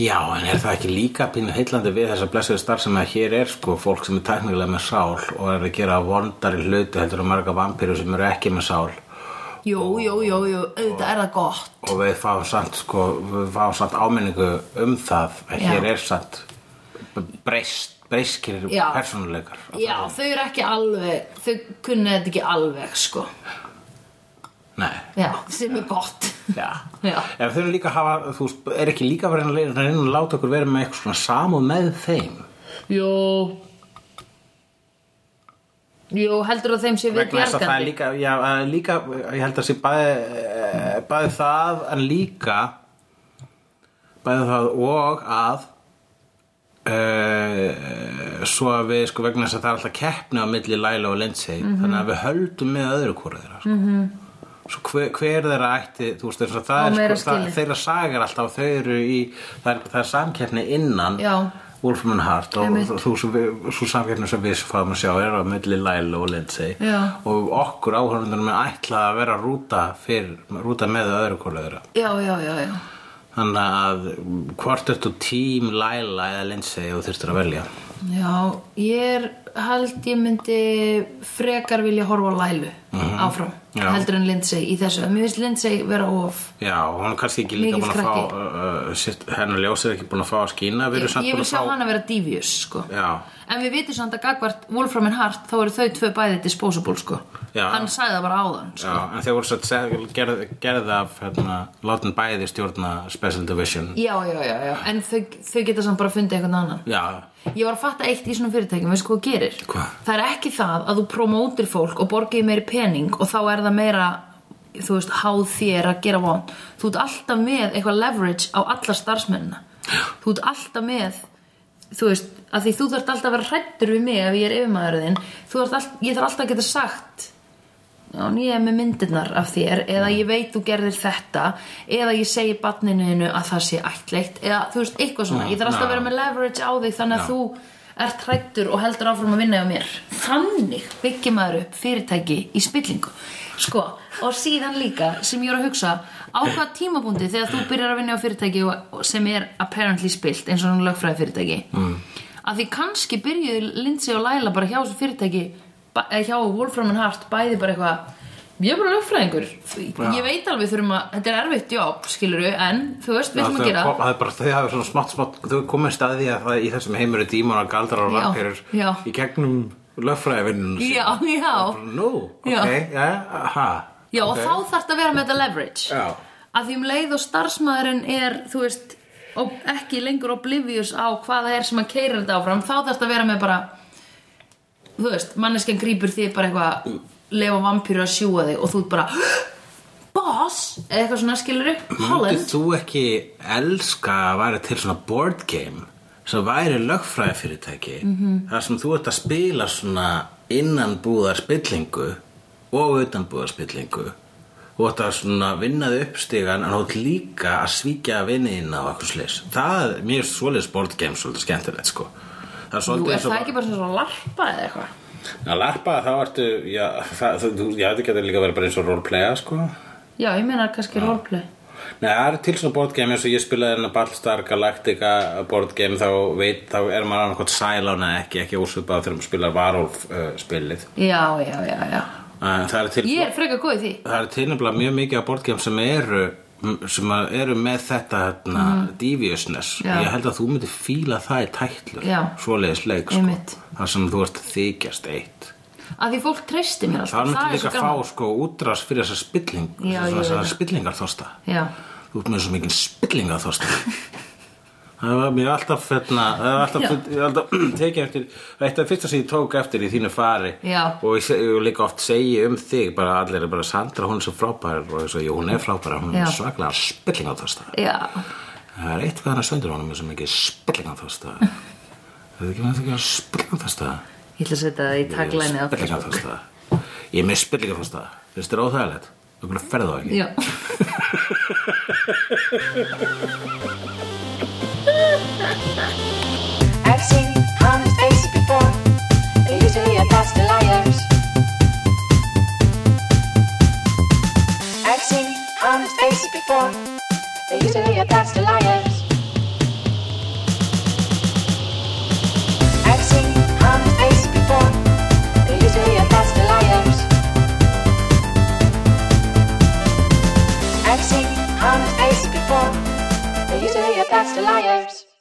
Speaker 1: já, en er það ekki líka pínu heillandi við þessa blessuðu starf sem að hér er sko fólk sem er tæknilega með sál og er að gera vondari hluti heldur að marga vampíru sem eru ekki með sál
Speaker 2: Jó, jó, jó, jó, auðvitað er það gott
Speaker 1: og við fáum samt sko, við fáum samt áminningu um það að
Speaker 2: Já.
Speaker 1: hér er samt breyst, breyskir
Speaker 2: Já.
Speaker 1: persónuleikar
Speaker 2: Já, þau eru ekki alveg þau kunna þetta ekki alveg, sko
Speaker 1: Nei,
Speaker 2: Já, sem er gott
Speaker 1: já
Speaker 2: Já,
Speaker 1: En við þurfum líka að hafa, þú veist, er ekki líka að vera að reyna- reyna að láta okkur vera með eitthvað svona samúð með þeim?
Speaker 2: Jó Jó, heldur það þeim sé við
Speaker 1: Vegna þess að það er
Speaker 2: bjargandi
Speaker 1: líka, já, það er líka, ég held að sé bæði, eh, bæði það en líka, bæði það og að, Uh, svo að við sko vegna þess að það er alltaf keppni á milli Laila og Lindsay
Speaker 2: Mhm.
Speaker 1: þannig að við höldum með öðru hvora þeirra sko. mm svo hver, hver þeirra ætti þú veist þess að
Speaker 2: Á
Speaker 1: það
Speaker 2: meira
Speaker 1: er sko, það,
Speaker 2: skilið.
Speaker 1: þeirra sagar alltaf þau eru í, það er, það er samkeppni innan
Speaker 2: Já.
Speaker 1: Wolfman Heart og
Speaker 2: Einmitt.
Speaker 1: þú, þú, svo, við- svo samkeppni sem við fáum að sjá er á milli Laila og Lindsay
Speaker 2: Já.
Speaker 1: og okkur áhörundunum er ætlað að vera rúta, fyrir, rúta með öðru hvora þeirra
Speaker 2: Já, já, já, já
Speaker 1: Þannig að hvort ertu tím Laila eða Lindsay og þurftir að velja
Speaker 2: Já, ég er, held ég myndi frekar vilja horfa á Lælu áfram,
Speaker 1: Mhm. Já.
Speaker 2: heldur en Lindsay í þessu, mér finnst Lindsay vera of
Speaker 1: Já, hún er kannski ekki líka
Speaker 2: Mikill
Speaker 1: búin að fá,
Speaker 2: krakki.
Speaker 1: uh, uh, sitt- hennar ljós er ekki búin að fá að skína, við erum samt
Speaker 2: ég
Speaker 1: búin
Speaker 2: vil
Speaker 1: að
Speaker 2: sjá
Speaker 1: fá...
Speaker 2: hana vera devious, sko
Speaker 1: Já,
Speaker 2: en við vitum samt að gagvart Wolfram and Hart þá eru þau tvö bæði disposable, sko
Speaker 1: Já.
Speaker 2: hann sagði það bara áðan, sko
Speaker 1: já, en þeir voru svo seg- gerð, gerð af, hérna, látin bæði stjórna Special Division.
Speaker 2: já, já, já, já, en þau, þau geta samt bara fundið einhvern annan
Speaker 1: Já,
Speaker 2: Ég var að fatta eitt í svona fyrirtækjum, veistu hvað þú gerir?
Speaker 1: Hvað?
Speaker 2: Það er ekki það að þú promótir fólk og borgið meiri pening og þá er það meira, þú veist, háð þér að gera vond. Þú ert alltaf með eitthvað leverage á alla starfsmennina. Þú ert alltaf með, þú veist, að því þú þarft alltaf að vera hrættur við mig ef ég er yfirmaðurðin. Ég þarf alltaf að geta sagt, Já, en ég er með myndirnar af þér eða ég veit þú gerðir þetta eða ég segi barninuðinu að það sé ættleitt eða þú veist, eitthvað svona ég þarf alltaf að vera með leverage á þig þannig að
Speaker 1: Já.
Speaker 2: þú ert hrættur og heldur áfram að vinna hjá mér þannig byggir maður upp fyrirtæki í spillingu sko, og síðan líka sem ég er að hugsa á hvað tímabúndi þegar þú byrjar að vinna á fyrirtæki og- og sem er apparently spilt eins og hann lögfræði fyrirtæki mm. að því kannski byrjuðu Lindsay og Laila bara hjá þessu fyrirtæki ba- eða hjá Wolfram and Hart bæði bara eitthvað ég er bara lögfræðingur ég veit alveg þurfum að, þetta er erfitt jobb skilur við, en þú veist, við
Speaker 1: Já,
Speaker 2: þurfum
Speaker 1: þau-
Speaker 2: að gera
Speaker 1: Það er bara, þau hafa svona smátt, smátt, þau komið staði að það í þessum heimur er dímona, galdrar og
Speaker 2: Já,
Speaker 1: rapperur
Speaker 2: já.
Speaker 1: í gegnum lögfræðivinnun.
Speaker 2: já, já,
Speaker 1: Nú,
Speaker 2: Já.
Speaker 1: ok, já, aha.
Speaker 2: já og þá þarf þetta að vera með þetta leverage
Speaker 1: Já.
Speaker 2: að því um leið og starfsmaðurinn er þú veist, og ekki lengur oblivious á hvað það er sem að keira þetta áfram þá þarf þetta að vera með bara þú veist, manneskjan grýpur þig bara eitthvað lefa vampýru að sjúga þig og þú ert bara boss, eða eitthvað svona skilur
Speaker 1: Mm, Myndið
Speaker 2: Holland,
Speaker 1: þú ekki elska að væri til svona board game sem væri lögfræðifyrirtæki -hmm. þar sem þú ert að spila svona innanbúðar spillingu og utanbúðar spillingu og þetta svona vinnaði uppstígan en þú ert líka að svíkja vinniðina á okkur slis það, mér er svoleiðis board game svolítið skemmtilegt sko það er
Speaker 2: þú
Speaker 1: svolítið
Speaker 2: er
Speaker 1: eins og
Speaker 2: það ekki bara svona larpa eða eitthvað
Speaker 1: að larpa þá ertu já, það, það, þú, já, þetta getur líka verið bara eins og roleplaya sko
Speaker 2: Já, ég meina kannski roleplay
Speaker 1: Nei, það er til svona boardgame eins og ég spilaði hérna Battlestar Galactica boardgame þá veit, þá er maður annarkot sælána ekki, ekki ósvipað þegar maður spilar Varolf uh, spilið.
Speaker 2: Já, já, já, já
Speaker 1: Uh, það er til,
Speaker 2: Ég er frekar góð í því
Speaker 1: það er til nefnilega mjög mikið af boardgame sem eru sem að eru með þetta hérna, deviousness
Speaker 2: Mhm. Já.
Speaker 1: ég held að þú myndir fíla það í tætlur
Speaker 2: Já.
Speaker 1: svoleiðis leik sko,
Speaker 2: Einmitt.
Speaker 1: þar sem þú ert að þykjast eitt
Speaker 2: Að því fólk treysti mér
Speaker 1: það
Speaker 2: alltaf
Speaker 1: myndir
Speaker 2: er svo
Speaker 1: líka fá
Speaker 2: gaman.
Speaker 1: sko útrás fyrir þessar spilling
Speaker 2: Já, ég veit
Speaker 1: þessar
Speaker 2: það.
Speaker 1: spillingar þósta
Speaker 2: Já,
Speaker 1: Þú ert með svo mikinn spillinga þorstu Það var mér alltaf fyrna, það var alltaf,
Speaker 2: Já.
Speaker 1: ég er alltaf tekið eftir, eitt af fyrsta sem ég tók eftir í þínu fari
Speaker 2: Já.
Speaker 1: og ég, se- ég líka oft segi um þig, bara allir er bara Sandra, hún er svo frábær og svo, jú, hún er frábær, hún
Speaker 2: Já.
Speaker 1: er svaklega spillinga þorstu.
Speaker 2: já
Speaker 1: Það er eitthvað hann að söndur honum með svo mikið spillinga þorstu. Það er ekki með það spillinga þorstu.
Speaker 2: Ég ætla að setja það í taglæni á
Speaker 1: Spillinga þorstu. Ég er með spillinga þorstu. Finnst þér óþægilegt? Okkur ferðu það ekki?
Speaker 2: Já,
Speaker 3: I've seen honest faces before. They're usually a pass to liars. I've seen honest faces before. They're usually a pass to liars. I've seen honest faces before. They're usually a pass to liars. I've seen honest faces before. They're usually a pass to liars.